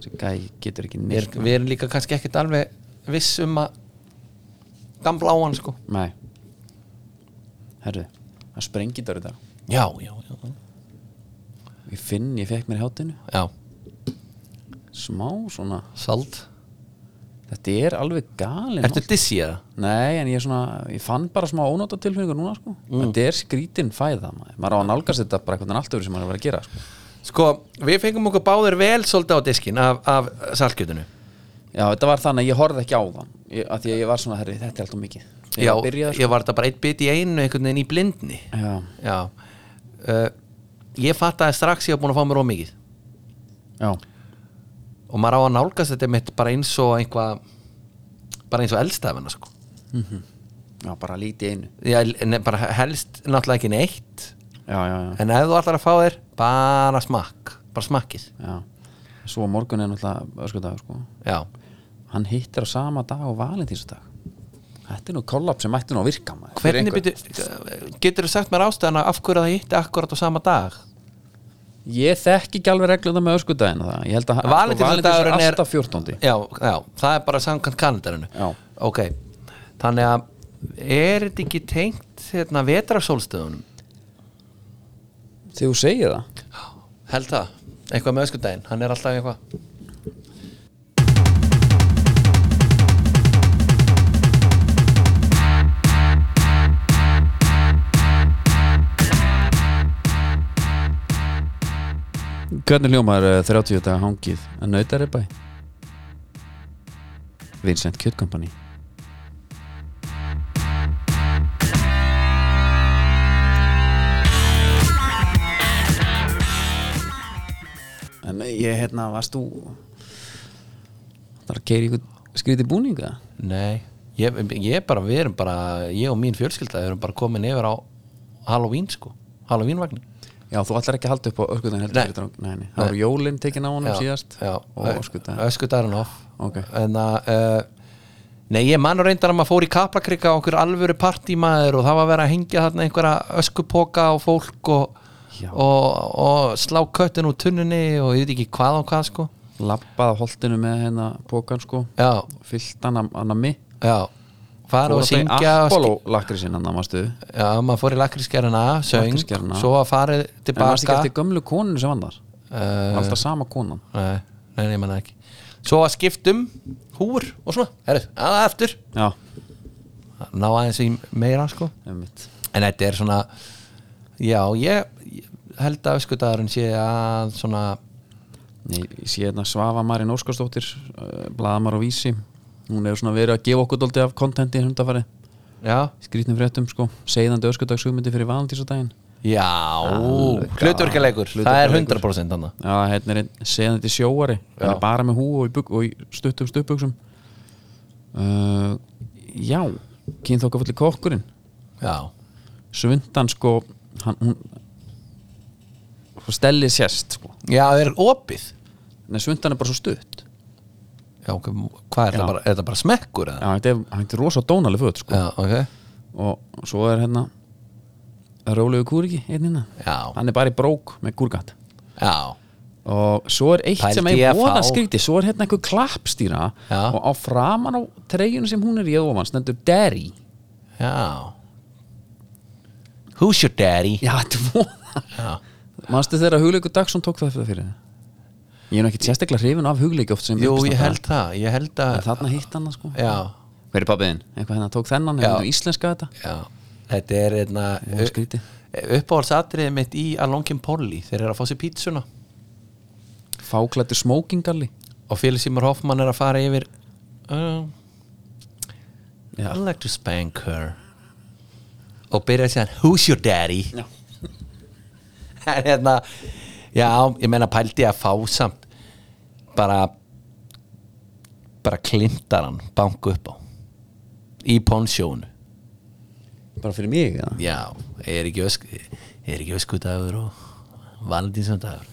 Speaker 1: þessi gæi getur ekki
Speaker 2: við,
Speaker 1: neitt
Speaker 2: er, við erum líka kannski ekkert alveg viss um að gamla á hann sko
Speaker 1: nei herru, það sprengir þar í dag
Speaker 2: já, já, já,
Speaker 1: ég finn, ég fekk mér í hátinu
Speaker 2: já.
Speaker 1: smá svona,
Speaker 2: sald
Speaker 1: þetta er alveg galin
Speaker 2: ertu dissi eða?
Speaker 1: nei, en ég er svona, ég fann bara smá ónóta tilfinningu núna, sko,
Speaker 2: Mm.
Speaker 1: þetta er skrítin fæða maður, maður á að nálgast þetta bara eitthvað allt öfri sem maður er að vera að gera, sko,
Speaker 2: sko, við fengum okkur báðir vel svolítið á diskin af, af salkjötunu
Speaker 1: já, þetta var þannig að ég horfði ekki á þann, ég, að því að ég var svona herri, þetta er alltaf mikið, Þegar
Speaker 2: já,
Speaker 1: ég byrjaði,
Speaker 2: ég var þetta bara eitt bit í einu einhvern veginn í blindni
Speaker 1: sko, já,
Speaker 2: já uh, ég fattaði strax ég var búin að fá mér ómikið
Speaker 1: já,
Speaker 2: og maður á að nálgast þetta mitt bara eins og einhvað bara eins og eldstafina sko
Speaker 1: já, bara lítið í einu
Speaker 2: já, ne, bara helst náttúrulega ekki neitt
Speaker 1: já, já, já,
Speaker 2: En ef þú ætlar að fá þér, bara smakk Bara smakkið
Speaker 1: já svo á morgun er náttúrulega öskudagur, sko
Speaker 2: Já,
Speaker 1: hann hittir á sama dag og valentínsdag þetta er nú kollab sem ætti nú að virka maður. Fyrir
Speaker 2: hvernig
Speaker 1: einhver-
Speaker 2: byrju Getur þú sagt mér ástæðan af hverju það hitti akkurat á sama dag?
Speaker 1: ég þekki ekki alveg regluna með öskudagina það ég held að sko,
Speaker 2: Valentínusdagurinn
Speaker 1: Valentínus
Speaker 2: er-
Speaker 1: er alltaf 14.
Speaker 2: Já, já, það er bara samkvæmt kalendarinu
Speaker 1: Já.
Speaker 2: Ok, þannig að er þetta ekki tengt hérna vetrasólstöðunum?
Speaker 1: þegar þú segir það
Speaker 2: Held það, eitthvað með öskudaginn, hann er alltaf eitthvað
Speaker 1: hvernig hljómar eh, 30 daga hangið að nautar er bæ Vincent Kjöt Company en ég hérna varst þú það er að keira ykkur skríti búninga
Speaker 2: Nei, ég, ég bara, við erum bara Ég og mín fjölskylda erum bara komin yfir á Halloween sko, Halloweenvagnin
Speaker 1: já þú ætlar ekki að halda upp á öskudaginn heldur
Speaker 2: Nei.
Speaker 1: fyrir drang- nei, nei. það voru jólinn tekin á honum síðast
Speaker 2: já,
Speaker 1: og öskudaginn
Speaker 2: öskudagurinn off
Speaker 1: Ok.
Speaker 2: en að uh, nei ég mann reyndar að maður fór í kaplakrika og okkur alvöru partímaður og það var að vera að hengja þarna einhverja öskupoka og fólk og,
Speaker 1: Já.
Speaker 2: og, og slá köttin úr tunnunni og ég veit ekki hvað og hvað sko
Speaker 1: lappað á holtinu með hérna pókan sko
Speaker 2: já,
Speaker 1: fyllt hann að nammi
Speaker 2: já fara og syngja og
Speaker 1: Apollo lakri sinna námastu
Speaker 2: sk- já, maður fór í lakrískerna, söng
Speaker 1: Lakrísgerðina.
Speaker 2: svo að farið
Speaker 1: En varst ekki
Speaker 2: tilbaka
Speaker 1: eftir gömlu konun sem vandar
Speaker 2: Eh,
Speaker 1: Alltaf sama konan
Speaker 2: nei, nei, nei, manna ekki svo að skiptum húr og svona, herru, aða eftir
Speaker 1: Já,
Speaker 2: ná aðeins í meira sko
Speaker 1: einmitt
Speaker 2: en þetta er svona já, ég, ég held að öskudagurinn sé að svona
Speaker 1: Nei, ég sé hérna Svafa Marín Óskarsdóttir uh, Blaðamar og Vísi Hún hefur svona verið að gefa okkur dóldi af kontenti hundafari
Speaker 2: já,
Speaker 1: Skrýtnum fréttum sko Segðandi öskudagshugmyndi fyrir valentísadaginn
Speaker 2: já
Speaker 1: Alveg.
Speaker 2: hlutverkaleikur, það er 100% annað
Speaker 1: Já, hérna er einn segðandi sjóari Hann er bara með hú og í, buk, og í stuttum stupbuksum uh, Já Kynþókafulli kokkurinn
Speaker 2: já,
Speaker 1: Svundan sko hann, Hún sko, Stellið sérst sko
Speaker 2: já, það er opið
Speaker 1: Nei, svundan er bara svo stutt
Speaker 2: já, ok, hvað er
Speaker 1: Já.
Speaker 2: það bara, er það bara smekkur eða?
Speaker 1: Já, þetta er, þetta er rosa dónaleg föt sko
Speaker 2: já, ok,
Speaker 1: og svo er hérna Rólegu Kúriki einn hérna
Speaker 2: Já.
Speaker 1: hann er bara í brók með kúrgat
Speaker 2: já
Speaker 1: og svo er eitt
Speaker 2: Pældi
Speaker 1: sem
Speaker 2: ég
Speaker 1: er
Speaker 2: að
Speaker 1: voða
Speaker 2: fá-
Speaker 1: skríti svo er hérna einhver klappstýra
Speaker 2: Já.
Speaker 1: og á framan á treyjunum sem hún er í að ofan stendur Derry
Speaker 2: Já Who's your daddy?
Speaker 1: já, þetta er voða
Speaker 2: Já,
Speaker 1: manstu þegar Hugleikur Dagsson tók það fyrir það ég er nú ekki sérstaklega hrifin af Hugleik oft sem
Speaker 2: Jú,
Speaker 1: uppistandara.
Speaker 2: ég held það Ég held
Speaker 1: En
Speaker 2: að
Speaker 1: þarna hitt hann það, sko
Speaker 2: Já,
Speaker 1: hver er pappiðin, eitthvað hérna tók þennan
Speaker 2: Já.
Speaker 1: hérna íslenska þetta
Speaker 2: já Þetta er einna
Speaker 1: Voða skrítið.
Speaker 2: uppáhaldsatriðið mitt í Alongin Polly þeir eru að fá sér pítsuna
Speaker 1: fáklættu smókingalli
Speaker 2: og Félix Simur Hoffmann er að fara yfir uh,
Speaker 1: Já.
Speaker 2: I like to spank her og byrja að segja Who's your daddy?
Speaker 1: Já.
Speaker 2: Það er hérna Já, ég meina pældi að fá samt bara bara klintar hann banku upp á í pónsjónu
Speaker 1: bara fyrir mig eða?
Speaker 2: Já, er ekki, ösk, er ekki öskudagur og valentinsandagur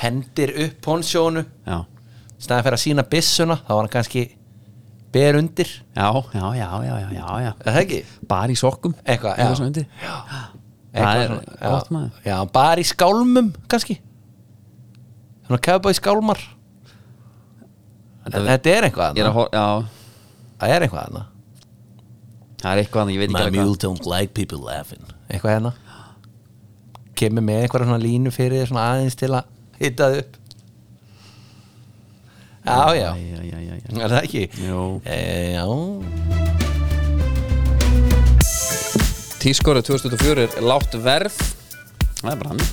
Speaker 2: hendir upp pónsjónu
Speaker 1: já,
Speaker 2: staðan fyrir að sína byssuna þá var hann kannski ber undir
Speaker 1: já, já, já, já, já, já, já.
Speaker 2: er það ekki?
Speaker 1: bara í sokkum
Speaker 2: Eitthvað, já.
Speaker 1: eitthvað svona undir það er
Speaker 2: Eitthvað svona-
Speaker 1: gott
Speaker 2: já,
Speaker 1: maður
Speaker 2: Já, bara í skálmum kannski svona kefabæði skálmar þetta, þetta er eitthvað
Speaker 1: Ég er að
Speaker 2: annað
Speaker 1: hor- já,
Speaker 2: það er eitthvað annað
Speaker 1: það er eitthvað annað, ég veit ekki alveg hvað
Speaker 2: don't like people laughing eitthvað hérna kemur með einhverja svona línu fyrir þér svona aðeins til að hitta þið upp já já
Speaker 1: já, já, já, já.
Speaker 2: er það ekki?
Speaker 1: Jú.
Speaker 2: e, já
Speaker 1: tískórið 2004 er látt verð það er bara hann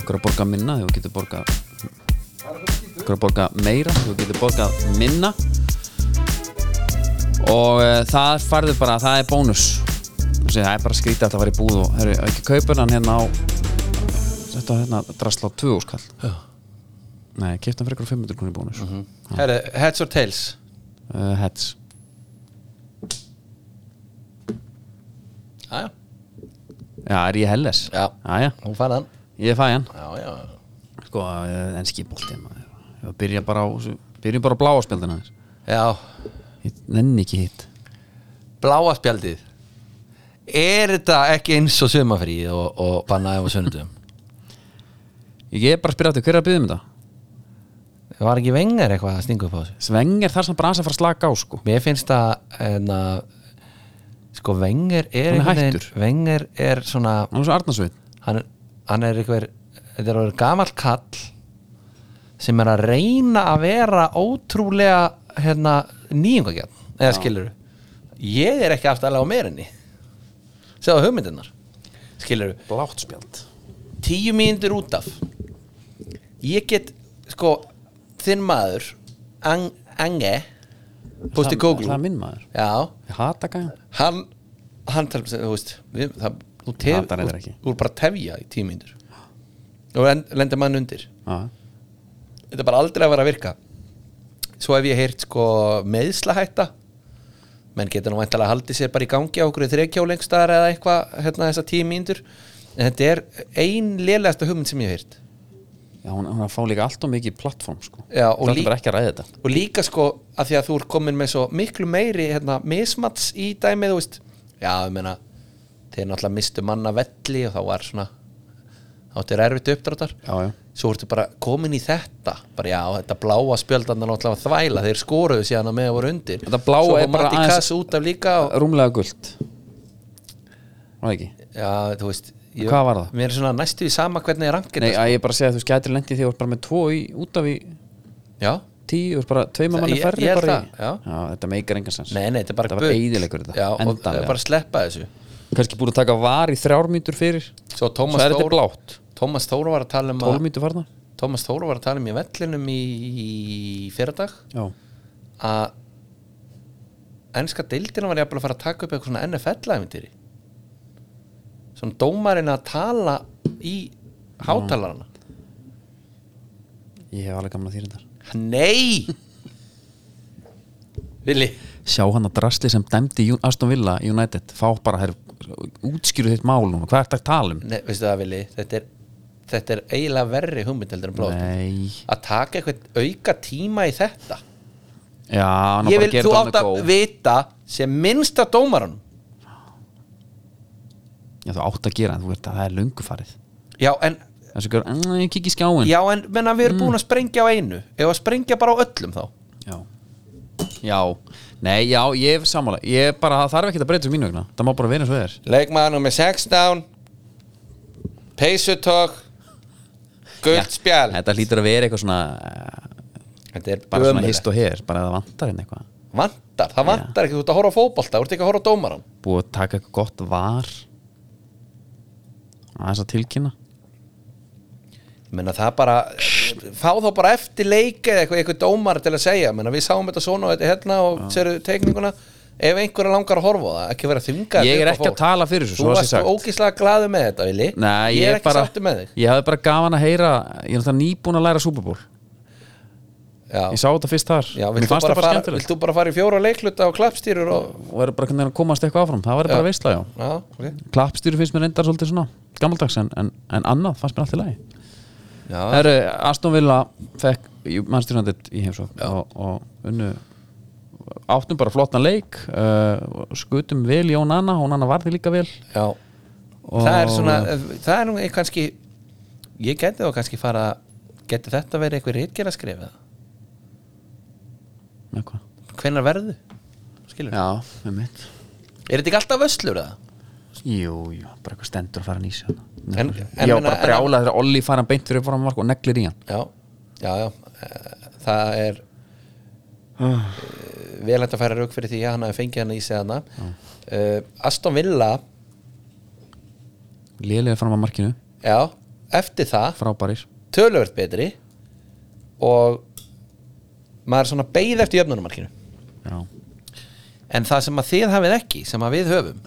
Speaker 1: okkur að borga minna þegar þú getur borga okkur að borga meira þegar þú getur borga minna og e, það farður bara, það er bónus Þessi, það er bara skrítið að það var í búð og herri, ekki kaupur hann hérna á þetta hérna drasla á 2 úrskall
Speaker 2: Já.
Speaker 1: nei, kipta hann fyrir 500 krónir bónus Eh, mm -hmm.
Speaker 2: Herre, heads or tails
Speaker 1: heads
Speaker 2: já já
Speaker 1: Já, er ég helles?
Speaker 2: Já.
Speaker 1: Já, já,
Speaker 2: hún fann hann
Speaker 1: ég fæ hann
Speaker 2: já já
Speaker 1: Sko, eh, enski bolti maður. Ég byrja bara á, þessu- byrjum bara á bláa spjaldina þess
Speaker 2: já
Speaker 1: Ég nenni ekki hitt
Speaker 2: bláa spjaldið er þetta ekki eins og sumafríð og, og bannaði á sunnudum
Speaker 1: Ég er bara að spyrja aftur, hver er að byrja um þetta?
Speaker 2: var ekki vengar eitthvað að stinga upp á þessu
Speaker 1: Sveng er þar sem bara aðeins að fara að slaka á, sko
Speaker 2: Mér finnst að hérna, sko Wenger er
Speaker 1: Hann er
Speaker 2: einhvern veginn-
Speaker 1: hættur.
Speaker 2: Wenger er svona
Speaker 1: Hann er svo Arnarsveit
Speaker 2: hann, er- hann er einhver þetta er orðið gamall kall sem er að reyna að vera ótrúlega hérna, nýjungagjarn eða skilur ég er ekki aftalega á meirinni segðu hugmyndirnar skilur
Speaker 1: Blátt spjald
Speaker 2: tíu mínútur út af ég get sko þinn maður Ang, Ange Bústi Kóglú
Speaker 1: Það er minn maður
Speaker 2: já
Speaker 1: Ég hata gæðan
Speaker 2: hann hann talar sem þú veist við, það, þú
Speaker 1: Hatar
Speaker 2: tef,
Speaker 1: þetta
Speaker 2: úr,
Speaker 1: ekki.
Speaker 2: úr bara tefja í tímyndur og en, lendir mann undir
Speaker 1: Já,
Speaker 2: þetta er bara aldrei að vera að virka svo hef ég heyrt sko meðslahætta menn getur nú væntalega haldið sér bara í gangi á okkur í þrekjálengstaðar eða eitthvað hérna þessa tímyndur en þetta er ein lélegasta hugmynd sem ég hef heyrt
Speaker 1: já hún, hún er að fá líka allt og mikið plattform, sko
Speaker 2: Já, og
Speaker 1: Það er
Speaker 2: lí-
Speaker 1: bara ekki að ræða þetta
Speaker 2: og líka sko að því að þú ert komin með svo miklu meiri hérna, mismats í dæmið þú veist, já ég meina þeir náttúrulega mistu manna velli og þá var svona þá áttu þér erfitt uppdráttar
Speaker 1: Já, já
Speaker 2: svo ertu bara komin í þetta bara já, þetta bláa spjöldan er náttúrulega að þvæla, þeir skoruðu síðan að með voru undir
Speaker 1: Þetta bláa
Speaker 2: svo
Speaker 1: er bara
Speaker 2: Matti
Speaker 1: aðeins-
Speaker 2: Kass út af líka og,
Speaker 1: rúmlega gult var það ekki
Speaker 2: já, þú veist ég,
Speaker 1: Hvað var það?
Speaker 2: Mér er svona næstu í sama hvernig ég rankir
Speaker 1: Nei, að ég er bara að segja að þú skætir lendi því að þú ert bara með tvo í, út af í
Speaker 2: Já,
Speaker 1: tíu, þú ert bara tveima
Speaker 2: Það-
Speaker 1: manni
Speaker 2: ég-
Speaker 1: færri
Speaker 2: ég er
Speaker 1: bara í,
Speaker 2: það, já.
Speaker 1: þetta meikar engan sens
Speaker 2: nei, nei, þetta er bara
Speaker 1: Þetta var
Speaker 2: bull.
Speaker 1: eyðilegur þetta,
Speaker 2: Já, og það
Speaker 1: endanlega.
Speaker 2: er bara að sleppa þessu
Speaker 1: kannski búin að taka var í þrjár mínútur fyrir
Speaker 2: Svo
Speaker 1: svo
Speaker 2: Tómas
Speaker 1: er þetta
Speaker 2: Þór
Speaker 1: blátt
Speaker 2: Tómas Þór var að tala um
Speaker 1: 12
Speaker 2: að
Speaker 1: mínútur farna
Speaker 2: Tómas Þór var að tala um í vellinum í, í fyrradag
Speaker 1: já,
Speaker 2: að ennska deildina var ég að fara að taka upp eitthvað svona NFL-æfintýri svona dómarinn að tala í hátalarana
Speaker 1: ég hef alveg gaman að þýra þetta
Speaker 2: Nei Vili
Speaker 1: sjá hann að drasli sem dæmdi Ju- Aston Villa í United, fá bara her, útskýru þitt mál núna, hvað ert að tala um
Speaker 2: Nei, veistu það Vili, þetta er þetta er eiginlega verri hugmynd heldur en blóð
Speaker 1: nei,
Speaker 2: að taka eitthvað auka tíma í þetta
Speaker 1: já, hann á bara
Speaker 2: ég vil,
Speaker 1: að gera
Speaker 2: þú
Speaker 1: þetta
Speaker 2: átt
Speaker 1: alveg
Speaker 2: að
Speaker 1: góð
Speaker 2: vita sem minnsta dómarann
Speaker 1: já, þú átt að gera, en þú veist að það er löngu farið
Speaker 2: já en,
Speaker 1: þessu gör, ég kikki í skjáin
Speaker 2: já, en menna, við erum búin
Speaker 1: Mm.
Speaker 2: að sprengja á einu ef að sprengja bara á öllum þá
Speaker 1: já, já. nei, já, ég er sammála ég bara, það þarf ekki að breyta um mínu vegna það má bara vera eins og það er
Speaker 2: Leikmaður nummer 16 Peysutokk Guld spjál
Speaker 1: þetta hlýtur að vera eitthvað svona eh,
Speaker 2: Þetta er
Speaker 1: bara svona hist
Speaker 2: ömurlegt
Speaker 1: og her, bara að það vantar henni eitthvað
Speaker 2: Vantar, það vantar ekki, þú ert að horfa á fótbolta Þú ert ekki að horfa á dómaran
Speaker 1: búið að taka eitthvað gott var aðeins að tilkynna
Speaker 2: Ég meina það bara, fá þá bara eftir leik eða eitthvað, eitthvað dómar til að segja Ég meina, Við sáum þetta svona og þetta hérna og sérðu teikninguna Ef einhverja langar að horfa á það, ekki vera þvingað
Speaker 1: ég er
Speaker 2: upp á
Speaker 1: ekki að
Speaker 2: fólk.
Speaker 1: tala fyrir þessu,
Speaker 2: Þú
Speaker 1: svo að sé
Speaker 2: varst
Speaker 1: sagt
Speaker 2: ógíslega glaðu með þetta, Vili
Speaker 1: Nei,
Speaker 2: Ég er
Speaker 1: ég
Speaker 2: ekki
Speaker 1: bara,
Speaker 2: sáttur með þig
Speaker 1: ég hafði bara gaman að heyra ég er náttúrulega nýbúin að læra Super Bowl ég
Speaker 2: Já,
Speaker 1: sá þetta fyrst þar,
Speaker 2: já
Speaker 1: mér
Speaker 2: vilt,
Speaker 1: fannst
Speaker 2: þú bara
Speaker 1: það bara
Speaker 2: fara,
Speaker 1: skemmtilegt
Speaker 2: vilt þú bara fara í fjóra leikluta og klappstýrur og
Speaker 1: og verður bara hvernig að komast eitthvað áfram það verður bara veistla, já
Speaker 2: Já, ok
Speaker 1: klappstýri finnst mér reyndar svolítið svona gammaldags en, en, en annað fannst mér allt í lagi
Speaker 2: Já,
Speaker 1: Herru, Aston Villa fekk mannstjórnandit í heimsókn og, og unnu áttum bara flottan leik uh, skutum vel Jón Anna, hún Anna varði líka vel
Speaker 2: Já Það er svona, það er nú ein- kannski ég geti þá kannski fara geti þetta verið eitthvað reitgerð að skrifa
Speaker 1: Eitthvað.
Speaker 2: hvenær verðu? Skilur
Speaker 1: Já, með mitt
Speaker 2: Er þetta ekki alltaf vöslur það?
Speaker 1: Jú, jú, bara eitthvað stendur að fara að nýsa
Speaker 2: En-
Speaker 1: en,
Speaker 2: en
Speaker 1: Já,
Speaker 2: meina-
Speaker 1: bara
Speaker 2: en-
Speaker 1: brjála þegar Olli fara hann beint fyrir fórum mark og neglir í hann
Speaker 2: Já, já, já eh, Það er eh, vel hægt að færa rauk fyrir því að hann hafi fengið hann í sig hana uh, Aston Villa
Speaker 1: Lélega fram að markinu,
Speaker 2: Já, eftir það
Speaker 1: frábærir
Speaker 2: töluvert betri og maður er svona beið eftir jöfnunumarkinu
Speaker 1: Já,
Speaker 2: En það sem að þið hafið ekki, sem að við höfum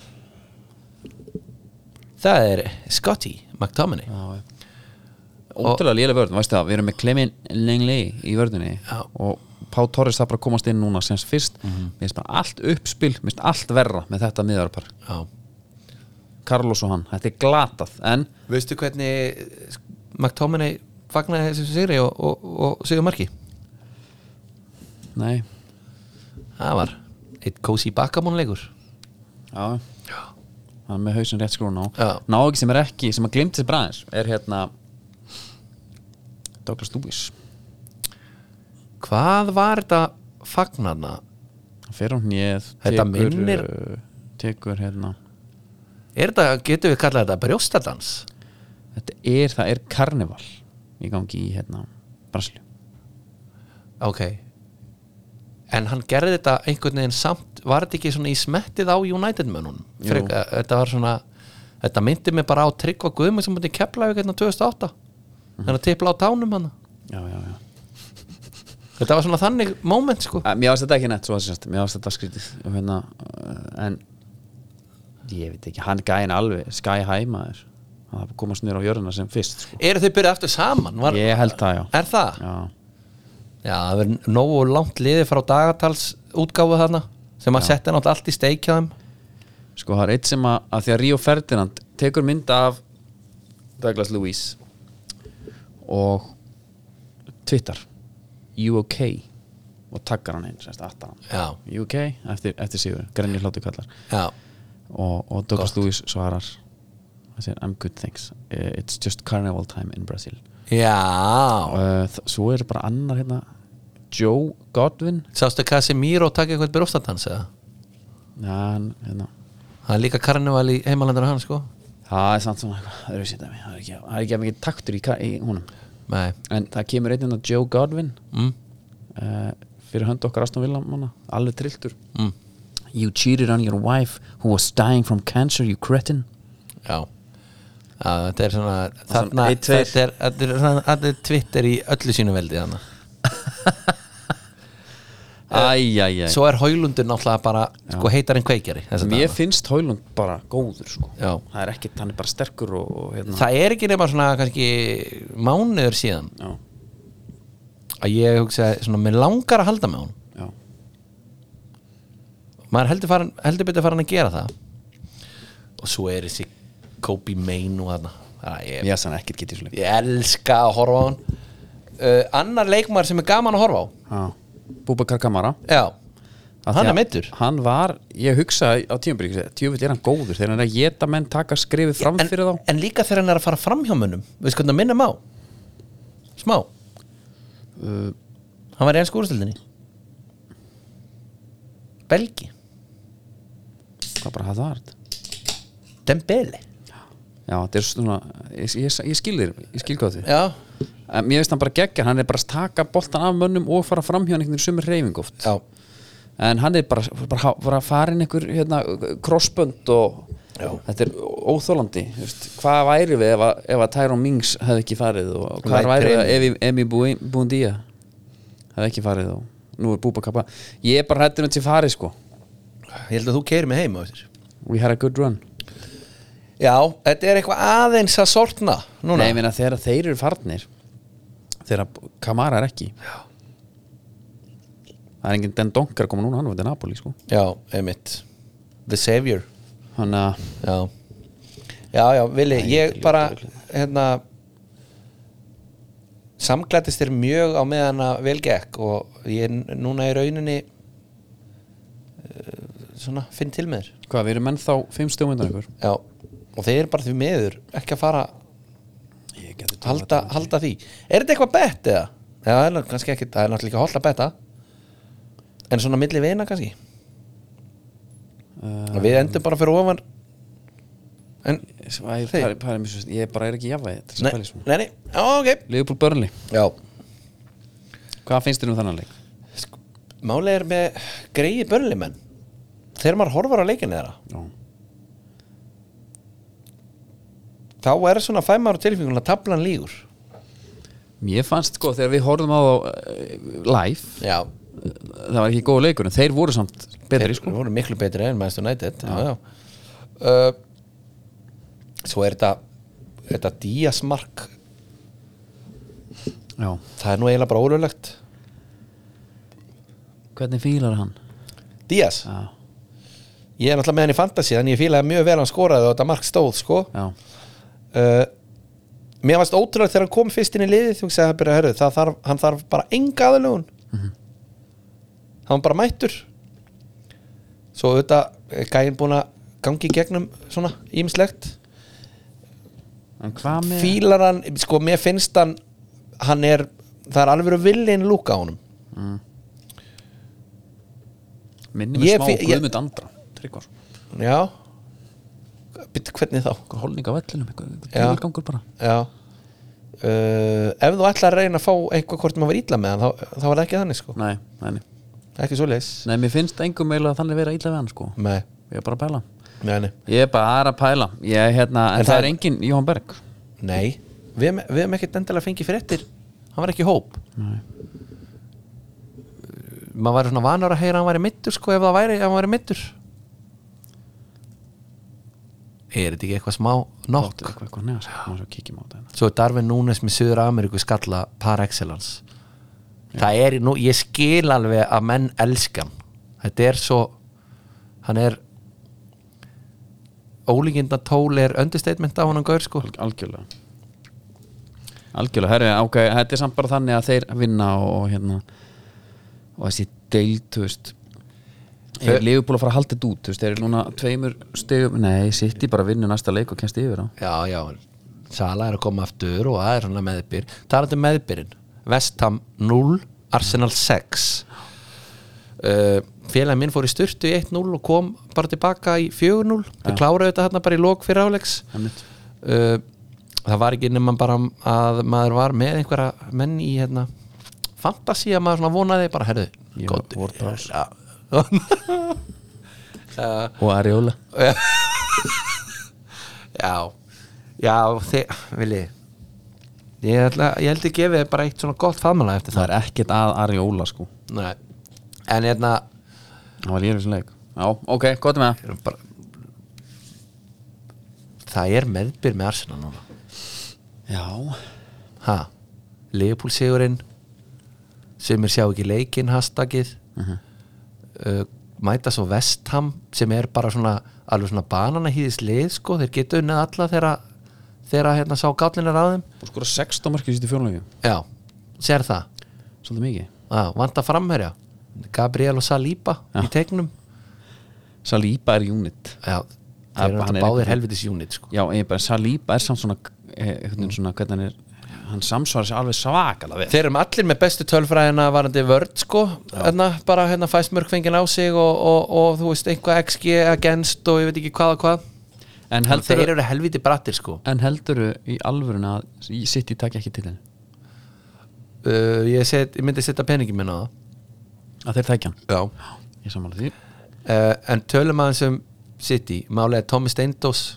Speaker 2: Það er Scotty McTominay
Speaker 1: já, já. Ótrúlega lélega vörðin, veistu það, við erum með Clemin Lengli í vörðinni
Speaker 2: Já. Mhm.
Speaker 1: og Pá Torres það bara að komast inn núna semst fyrst, mm -hmm. minnst bara allt uppspil minnst allt verra með þetta miðarpar
Speaker 2: Já.
Speaker 1: Carlos og hann, þetta er glatað en
Speaker 2: Veistu hvernig McTominay fagnaði þessu sigri og, og, og sigur marki?
Speaker 1: nei,
Speaker 2: Það var eitt kósi bakamónleikur
Speaker 1: já, hann er með hausinn rétt skrúna
Speaker 2: Já.
Speaker 1: á ná ekki sem er ekki, sem að glimti sér bræðins er hérna Douglas Lewis
Speaker 2: Hvað var þetta fagnarna?
Speaker 1: hann fer á hnið,
Speaker 2: Þetta
Speaker 1: tekur
Speaker 2: minnir-
Speaker 1: uh, tekur hérna
Speaker 2: Er þetta, getum við kallað þetta brjóstadans?
Speaker 1: þetta er, það er karneval í gangi í hérna Brasilíu
Speaker 2: Ok En hann gerði þetta einhvern veginn samt Var þetta ekki svona í smettið á United mönnunum
Speaker 1: Jú.
Speaker 2: Frek, Þetta var svona Þetta myndi mig bara á Tryggva Guðmund sem búin að kepla við hérna 2008 Þannig að tipla á tánum hann
Speaker 1: já, já, já
Speaker 2: Þetta var svona þannig moment sko
Speaker 1: Að, Mér ást þetta ekki nett svo að sérst Mér ást þetta skrítið og hérna, uh, En Ég veit ekki, hann gæin alveg Sky high maður Hann þarf að komast nýra á jörðina sem fyrst sko.
Speaker 2: Eru þau byrjuð aftur saman? Var,
Speaker 1: Ég held það já,
Speaker 2: Er það?
Speaker 1: já.
Speaker 2: Já, það verður nógu langt liðið frá dagatals útgáfu þarna sem að setja nátt allt í steikjaðum
Speaker 1: Sko það er eitt sem að, að því að Rio Ferdinand tekur mynd af Douglas Lewis og Twitter UK og taggar hann einn sérst aftan hann
Speaker 2: Já,
Speaker 1: UK eftir, eftir síður, grenni hlátu kallar
Speaker 2: já
Speaker 1: og, og Douglas Lewis svarar I said, I'm good thanks uh, it's just carnival time in Brazil
Speaker 2: Já
Speaker 1: uh, þ- svo er bara annar hérna Joe Godwin
Speaker 2: Sástu Casemiro taka eitthvað brófstandans eða?
Speaker 1: ja, hann, hérna.
Speaker 2: Það er líka karneval í heimalandara hann sko
Speaker 1: það er samt svona eitthvað öðruvísi dæmi. það er ekki, það er ekki að mikið taktur í, ka- í húnum
Speaker 2: Nei
Speaker 1: en það kemur einn hérna Joe Godwin
Speaker 2: mm.
Speaker 1: uh, fyrir hönd okkar Aston Villa manna alveg trilltur
Speaker 2: Mm.
Speaker 1: you cheated on your wife who was dying from cancer you cretin
Speaker 2: Já Já, þetta er svona
Speaker 1: Svona,
Speaker 2: þarna,
Speaker 1: einn, tveir.
Speaker 2: þetta, er, þetta, er, svona- þetta er Twitter í öllu sínu veldi þarna
Speaker 1: æjæjæ
Speaker 2: Svo er Hólundur náttúrulega bara sko heitar en kveikjari þessa
Speaker 1: mér
Speaker 2: dagana.
Speaker 1: finnst Hólund bara góður sko.
Speaker 2: Já.
Speaker 1: það er ekkert, hann er bara sterkur og, og hérna
Speaker 2: Það er ekki nema svona kannski mánuður síðan
Speaker 1: já,
Speaker 2: að ég hugsa svona, mér langar að halda með hún
Speaker 1: já,
Speaker 2: maður heldur, farin, heldur betur farin að gera það og svo er þessi Kobe Main og þarna Æ, ég,
Speaker 1: ég er sann ekkert getið svolítið
Speaker 2: ég elska að horfa á hann uh, annar leikmaður sem er gaman að horfa á
Speaker 1: Búbakar Kamara
Speaker 2: já,
Speaker 1: Af því
Speaker 2: hann
Speaker 1: að
Speaker 2: er meittur
Speaker 1: hann var, ég hugsa á tíumbyrg tjúvill er hann góður, þegar hann er að geta menn taka skrifið fram
Speaker 2: en,
Speaker 1: fyrir þá
Speaker 2: en líka þegar hann er að fara fram hjá munum veist hvernig að minna má smá
Speaker 1: uh,
Speaker 2: hann var í ennsku úrstildinni Belgi
Speaker 1: hvað bara hafði það var þetta?
Speaker 2: Dembele
Speaker 1: já, þetta er svona, ég, ég, ég skil þér ég skil hvað þið,
Speaker 2: já,
Speaker 1: en mér finnst hann bara geggja hann er bara að taka boltan af mönnum og fara fram hjá hann einhvern sumir reyfing oft
Speaker 2: já.
Speaker 1: en hann er bara, bara, bara farin einhver hérna, crossbönd og
Speaker 2: Já.
Speaker 1: þetta er óþólandi veist, hvað væri við ef að, ef að Tyrone Mings hefði ekki farið og hvað
Speaker 2: Lætur
Speaker 1: væri við
Speaker 2: inn.
Speaker 1: ef í- Emi Bui- Buendia hefði ekki farið og nú er Búba Kappa ég er bara hættur um til farið sko
Speaker 2: ég held að þú keiri mig heim á þessir
Speaker 1: we had a good run
Speaker 2: Já, þetta er eitthvað aðeins að sortna núna
Speaker 1: Nei, ég meina þegar þeir eru farnir þegar Kamara er ekki Já. það er enginn den donkar að koma núna hann var til Napoli sko
Speaker 2: Já, einmitt The Savior
Speaker 1: hann að
Speaker 2: Já, já, já Vili, ég
Speaker 1: ljótur,
Speaker 2: bara hérna samklættist þér mjög á meðan að vel gekk og ég n- núna í rauninni uh, svona finn til með þér
Speaker 1: hvað, við erum menn þá fimm stöðum undan ykkur
Speaker 2: Já, og þeir eru bara því meður ekki að fara
Speaker 1: ég geti
Speaker 2: halda, halda því Er þetta eitthvað bett eða? Já, það er nú kannski ekki, það er náttúrulega ekki að holda betta en svona milli vina kannski
Speaker 1: Uh,
Speaker 2: Við endum bara fyrir ofan en
Speaker 1: Svæ,
Speaker 2: Þeir-
Speaker 1: pari, pari, pari, ég bara er ekki jafnvæði þetta er
Speaker 2: Nei,
Speaker 1: spælis
Speaker 2: nei, nei, já, ok
Speaker 1: Liverpool Burnley,
Speaker 2: Já
Speaker 1: hvað finnst þér um þannan leik?
Speaker 2: Sko, Málið er með greiði börnlimenn Þegar maður horfar á leikinu þeirra
Speaker 1: Já.
Speaker 2: Þá er svona fæmar á tilfengun að tablan lígur
Speaker 1: Mér fannst sko þegar við horfðum á þá eh, live eh,
Speaker 2: Já
Speaker 1: það var ekki góð leikur en þeir voru samt betri
Speaker 2: Þeir
Speaker 1: sko
Speaker 2: voru miklu betri en Manchester United Já, já uh, Svo er þetta Þetta díasmark
Speaker 1: Já.
Speaker 2: Það er nú eiginlega bara ólulegt
Speaker 1: Hvernig fílar hann?
Speaker 2: Días
Speaker 1: Já,
Speaker 2: Ég er náttúrulega með hann í fantasy Þannig ég fílaði mjög vel að hann skoraði og þetta mark stóð sko
Speaker 1: já,
Speaker 2: uh, Mér varst ótrúlega þegar hann kom fyrst inn í liðið þú veist að byrja að herðu það þarf, hann þarf bara enga aðlugun hann var bara mættur svo auðvitað er gæinn búin að gangi í gegnum svona ímislegt
Speaker 1: en hvað með
Speaker 2: fílar hann, sko mér finnst hann hann er, það er alveg villin lúka á honum
Speaker 1: minni með
Speaker 2: Ég
Speaker 1: smá
Speaker 2: fí- ég-
Speaker 1: Guðmund Andra Tryggvar,
Speaker 2: já Bittu, hvernig þá?
Speaker 1: okkur holning á vellinum eitthvað eitthvað
Speaker 2: Já.
Speaker 1: tilgangur bara
Speaker 2: Já uh, ef þú ætlar að reyna að fá einhver hvort maður var ítla með hann þá, þá var það ekki þannig sko
Speaker 1: Nei, nei, nei.
Speaker 2: ekki svo leis
Speaker 1: nei mér finnst engum meila að þannig vera illa við hann sko
Speaker 2: nei,
Speaker 1: ég er bara að pæla
Speaker 2: nei, nei
Speaker 1: ég er bara aðra að pæla ég, er hérna, en,
Speaker 2: En
Speaker 1: það
Speaker 2: það-
Speaker 1: er engin Jóhann Berg
Speaker 2: Nei, við hefum- við hefum ekkert endilega fengið fréttir Hann var ekki í hóp
Speaker 1: Nei.
Speaker 2: Maður væri svona vanur að heyra að hann væri mittur sko ef það væri, ef hann væri mittur Er þetta ekki eitthvað smá nokk?
Speaker 1: Eitthvað, eitthvað, neða, sko, svo kíkjum á þetta hérna.
Speaker 2: Svo er Darvin Núnes með Suður Ameríku skalla par excellence Það er, nú, ég skil alveg að menn elskan Þetta er svo Hann er Ólíkinda tól er understatement á hann gaur sko
Speaker 1: Alg- algjörlega algjörlega, herri, ok, þetta er samt bara þannig að þeir vinna og, og hérna og þessi deilt, þú veist Þeir lífið búin að fara að halda þetta út þú veist, Þeir eru núna tveimur stegum Nei, sitt í bara að vinna næsta leik og kennst yfir á
Speaker 2: já, já, Sala er að koma aftur og það er svona meðbyr talandi um meðbyrinn, Vestham 0 Arsenal 6 uh, félagin minn fór í styrtu í 1-0 og kom bara tilbaka í 4-0, þau kláraðu þetta hérna bara í lók fyrir áleiks
Speaker 1: Einmitt.
Speaker 2: uh, það var ekki nema bara að maður var með einhverja menn í hérna fantasi að maður svona vonaði bara, herðu,
Speaker 1: Ég
Speaker 2: gott
Speaker 1: var- Ward-Prowse.
Speaker 2: ja,
Speaker 1: Og Ariola
Speaker 2: Já Já, þið, vilji ég, ætla, ég held ekki gefið þér bara eitt svona gott faðmala eftir
Speaker 1: Það er ekkert að Ariola sko
Speaker 2: það Nei. En hérna
Speaker 1: Það var lífið sem leik Já, ok, gott með það
Speaker 2: erum bara, Það er meðbyr með Arsenal núna
Speaker 1: Já,
Speaker 2: Ha, Leopold Sigurinn sem er sjá ekki leikinn hashtagið uh, mæta svo Vestham sem er bara svona alveg svona banana hýðis lið sko, þeir geta unnið alla þegar þegar hérna sá gallin er að þeim
Speaker 1: og skora 16 markið sýtti fjórnleiki
Speaker 2: Já, sér það
Speaker 1: Svolítið mikið
Speaker 2: Já, Ah, vanta framherja Gabriel og Saliba í tegnum
Speaker 1: Saliba er unit
Speaker 2: Já,
Speaker 1: Að-
Speaker 2: þeir
Speaker 1: hann
Speaker 2: eru þetta
Speaker 1: er
Speaker 2: báðir
Speaker 1: einhvern-
Speaker 2: helvitis unit sko.
Speaker 1: Já, ég bara Saliba er samt svona, eh, einhvern veginn svona hvernig hann er hann samsvarar sér alveg svakalega vel
Speaker 2: Þeir eru allir með bestu tölfræðina varandi vörd sko, hérna, bara hérna fæst mörgfengin á sig og, og, og þú veist einhvað XG against og ég veit ekki hvað og hvað
Speaker 1: En
Speaker 2: Þeir
Speaker 1: heldur
Speaker 2: eru helviti brattir sko
Speaker 1: En heldurðu í alvöruna að sitt í takja ekki til henni
Speaker 2: uh, ég, set, ég myndi setja peningin minna á
Speaker 1: að þeir takja hann
Speaker 2: það Já
Speaker 1: Ég sammála því
Speaker 2: uh, En tölum aðeins um City Málega Tommy Steindós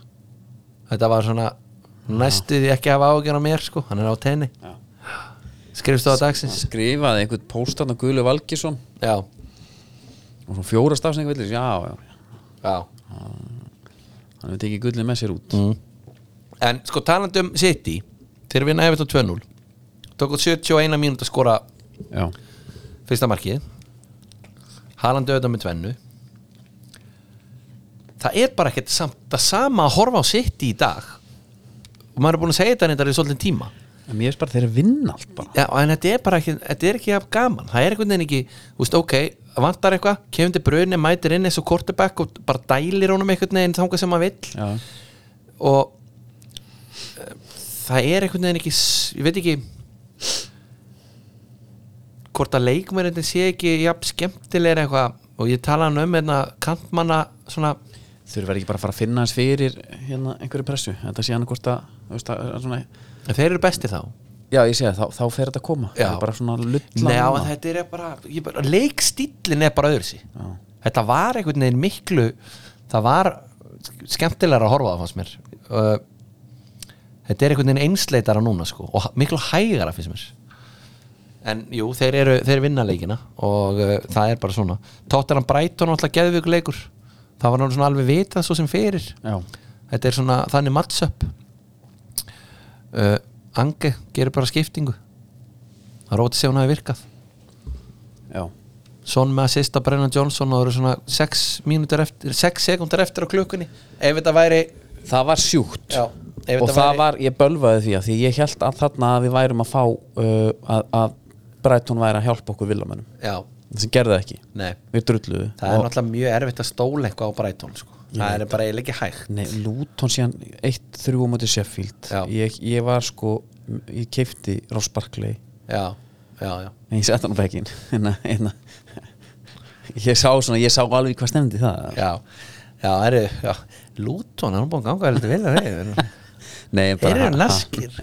Speaker 2: Þetta var svona næstuði ekki að hafa ágjörn á mér sko, hann er á tenni
Speaker 1: Já.
Speaker 2: Skrifstu á dagsins
Speaker 1: Skrifaði einhvern póstan á Guðlu Valgjesson
Speaker 2: Já,
Speaker 1: og svona fjóra stafsninga villis, já, já
Speaker 2: já
Speaker 1: hann hefur tekið Guðlu með sér út
Speaker 2: En sko talandi um City Þeir vinna eftir 2-0 Tók út 71 mínúti að skora
Speaker 1: Já,
Speaker 2: fyrsta markið Haaland auðvitað með tvennu Það er bara ekkert samt, það sama að horfa á City í dag og maður er búin að segja þetta reyndar í svolítið tíma
Speaker 1: en mér er bara þeir að vinna allt bara
Speaker 2: Já, en þetta er bara ekki, þetta er ekki jafn gaman það er einhvern veginn ekki, þú veist, ok vantar eitthvað, kemur til brunni, mætir inn eins og quarterback og bara dælir honum einhvern veginn þangað sem maður vill
Speaker 1: Já,
Speaker 2: og eh, það er einhvern veginn ekki s- ég veit ekki hvort að leikmörindin sé ekki jafn skemmtilega eitthvað og ég tala hann um hérna kantmanna svona
Speaker 1: þurfa ekki bara að fara að finna hans fyrir hérna einhverju pressu, þetta sé hann hvort að, þú veist, að að svona,
Speaker 2: en þeir eru besti þá
Speaker 1: já ég segi það, þá, þá fer þetta að koma
Speaker 2: Já.
Speaker 1: það er bara svona
Speaker 2: Nei,
Speaker 1: lulla
Speaker 2: á, en þetta er bara, ég bara leikstýllin er bara öðru sí þetta var einhvern veginn miklu það var skemmtilega að horfa á það fannst mér uh, þetta er einhvern veginn einsleitara núna sko, og ha- miklu hægara finnst mér en jú, þeir eru þeir vinna leikina og uh, það er bara svona Tottenham Brighton alltaf geðvíku leikur það var náttúrulega svona alveg vitað svo sem fyrir
Speaker 1: já,
Speaker 2: þetta er svona þannig matchup uh, Ange gerir bara skiptingu það róti sig að hún hafi virkað
Speaker 1: já,
Speaker 2: Son með assist á Brennan Johnson og það eru svona 6 mínútur eftir 6 sekundar eftir á klukkunni ef þetta væri
Speaker 1: það var sjúkt
Speaker 2: Já, ef
Speaker 1: og
Speaker 2: þetta
Speaker 1: það
Speaker 2: væri-
Speaker 1: var, ég bölvaði því að því ég held að þarna að við værum að fá uh, að, að Brighton væri að hjálpa okkur villamönnum,
Speaker 2: já,
Speaker 1: sem gerði það ekki
Speaker 2: nei,
Speaker 1: við drulluðu
Speaker 2: það er náttúrulega mjög erfitt að stóla eitthvað á Brighton sko. það er bara eiginlega ekki hægt
Speaker 1: Nei, Luton síðan 1-3 á móti Sheffield
Speaker 2: Já.
Speaker 1: ég, ég var sko, ég keipti Ross Barkley,
Speaker 2: já, já, já,
Speaker 1: en ég sett hann á bekkin en að ég sá svona, ég sá alveg hvað stemdi það
Speaker 2: já, já, það eru já. Luton, hann er búin að ganga heldur vel að reyðu
Speaker 1: Nei,
Speaker 2: þeir
Speaker 1: bara
Speaker 2: eru naskir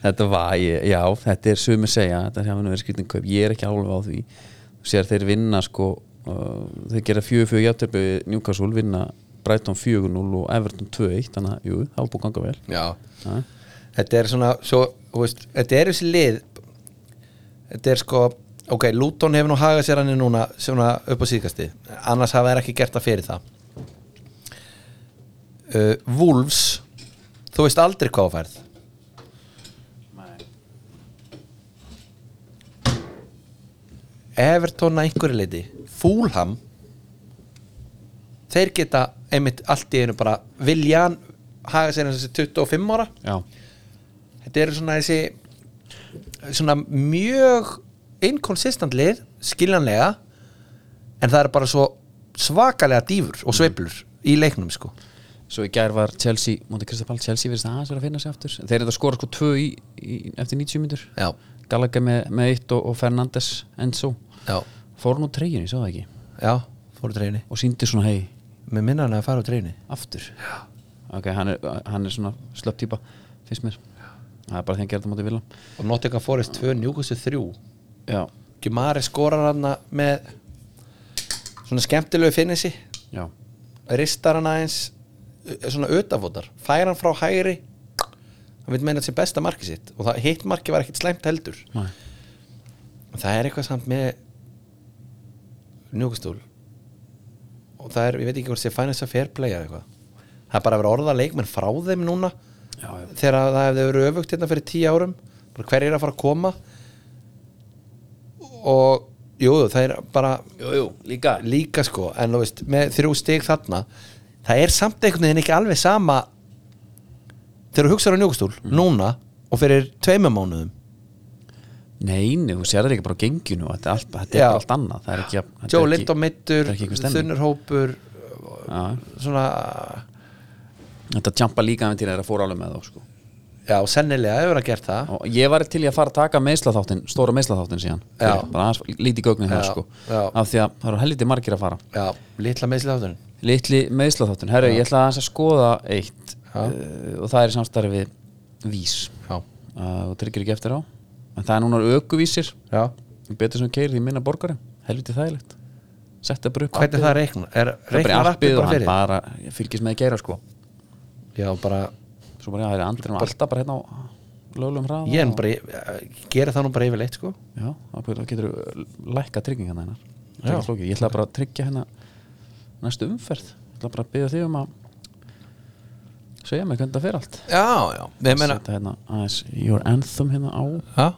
Speaker 1: Þetta var, ég, já, þetta er sumir segja þetta hefur nú verið skrýtning kaup, ég er ekki álfa á því þú sér þeir vinna sko uh, þeir gera 4-4 játtöfbi Newcastle vinna Brighton 4-0 og Everton 2-1, þannig að, jú, það var búið að ganga vel
Speaker 2: já,
Speaker 1: Ha?
Speaker 2: þetta er svona svo, þú veist, þetta er þessi lið þetta er sko ok, Luton hefur nú hagað sér hann núna svona upp á síðkasti, annars hafa þær ekki gert það fyrir það uh, Wolves þú veist aldrei hvað þú færð Everton að einhverju leiti Fúlham þeir geta einmitt allt í einu bara viljan haga sér eins og þessi 25 ára
Speaker 1: Já,
Speaker 2: þetta eru svona þessi svona mjög inconsistent lið skiljanlega en það er bara svo svakalega dýfur og sveiflur í leiknum sko
Speaker 1: Svo í gær var Chelsea, Monte Kristapal Chelsea verðist aðeins vera að finna sig aftur Þeir eru að skora sko tvö í, í, eftir 90 myndur
Speaker 2: Já.
Speaker 1: Gallagher með, með eitt og, og Fernandes Enzo
Speaker 2: Já.
Speaker 1: Fór nú treyjunni, svo það ekki
Speaker 2: já, fóru treyni
Speaker 1: Og síndi svona hei,
Speaker 2: með minna hann að fara á treyni
Speaker 1: aftur Já. Ok, hann er, hann er svona slöpp típa finnst mér Það er bara því að gera það móti vilja
Speaker 2: og Nottingham Forest 2, Newcastle 3
Speaker 1: Já,
Speaker 2: Gjumari skorar hann með svona skemmtilegu finnisi
Speaker 1: já,
Speaker 2: ristar hann aðeins eh, svona utafótar, fær hann frá hægri hann vil meina sér besta markið sitt og það, hitt markið var ekkit slæmt heldur
Speaker 1: Nei.
Speaker 2: það er eitthvað samt með njúkastúl og það er, ég veit ekki hvort sé finance að fair play eða eitthvað það er bara að vera orða leikmenn frá þeim núna
Speaker 1: já, já.
Speaker 2: þegar að það hefði verið öfugt hérna fyrir tíu árum bara hver er að fara að koma og jú, jú, það er bara
Speaker 1: Jú, jú, líka
Speaker 2: líka sko, en þú veist með þrjú stig þarna, það er samt einhvern veginn ekki alveg sama þegar þú hugsaður á njókustúl
Speaker 1: Mm.
Speaker 2: núna og fyrir tveimum mánuðum
Speaker 1: Nei, nei, þú sér það ekki bara á genginu og þetta er allt, þetta er
Speaker 2: Já.
Speaker 1: bara allt annað Það er ekki, að- þetta
Speaker 2: Joe
Speaker 1: er
Speaker 2: Lindó
Speaker 1: ekki,
Speaker 2: meittur,
Speaker 1: þetta er ekki einhver stemning.
Speaker 2: þunnur hópur
Speaker 1: Já.
Speaker 2: svona
Speaker 1: Þetta tjampa líka með til þeirra fór alveg með þá sko.
Speaker 2: já, sennilega hefur að gert það
Speaker 1: og ég var til í að fara að taka meðslaþáttin stóra meðslaþáttin síðan
Speaker 2: Já.
Speaker 1: bara aðeins lítið gögnin hér
Speaker 2: Já,
Speaker 1: sko
Speaker 2: já.
Speaker 1: af því að það eru helviti margir að fara
Speaker 2: já, litla meðsli áttunum
Speaker 1: litli meðslaþáttin, herru ég ætla aðeins að skoða eitt
Speaker 2: Já.
Speaker 1: uh, og það er í samstarfi við vís
Speaker 2: já,
Speaker 1: uh, og tryggir ekki eftir á en það er núna aukuvísir
Speaker 2: já
Speaker 1: betur sem keir því minna borgari, helviti þægilegt setta bara upp
Speaker 2: hvernig
Speaker 1: appið.
Speaker 2: það reikna, er
Speaker 1: það er bara
Speaker 2: reiknar
Speaker 1: í appið og
Speaker 2: appið bara
Speaker 1: hann
Speaker 2: fyrir
Speaker 1: bara fylgist með að gera sko
Speaker 2: já, bara,
Speaker 1: svo bara já, það er andrið og alltaf bara hérna á lögulegum hraða
Speaker 2: ég er
Speaker 1: og-
Speaker 2: nú bara ég gera það nú bara yfirleitt sko
Speaker 1: Já, þá getur þú lækka tryggingana hennar Það er
Speaker 2: Já.
Speaker 1: ekki flókið. Ég ætla bara að tryggja hennar næstu umferð Ég ætla bara að byggja þig um að segja mig hvernig það fer allt
Speaker 2: já, já, ég meina
Speaker 1: Setta hérna aðeins Your Anthem hérna á
Speaker 2: já,
Speaker 1: og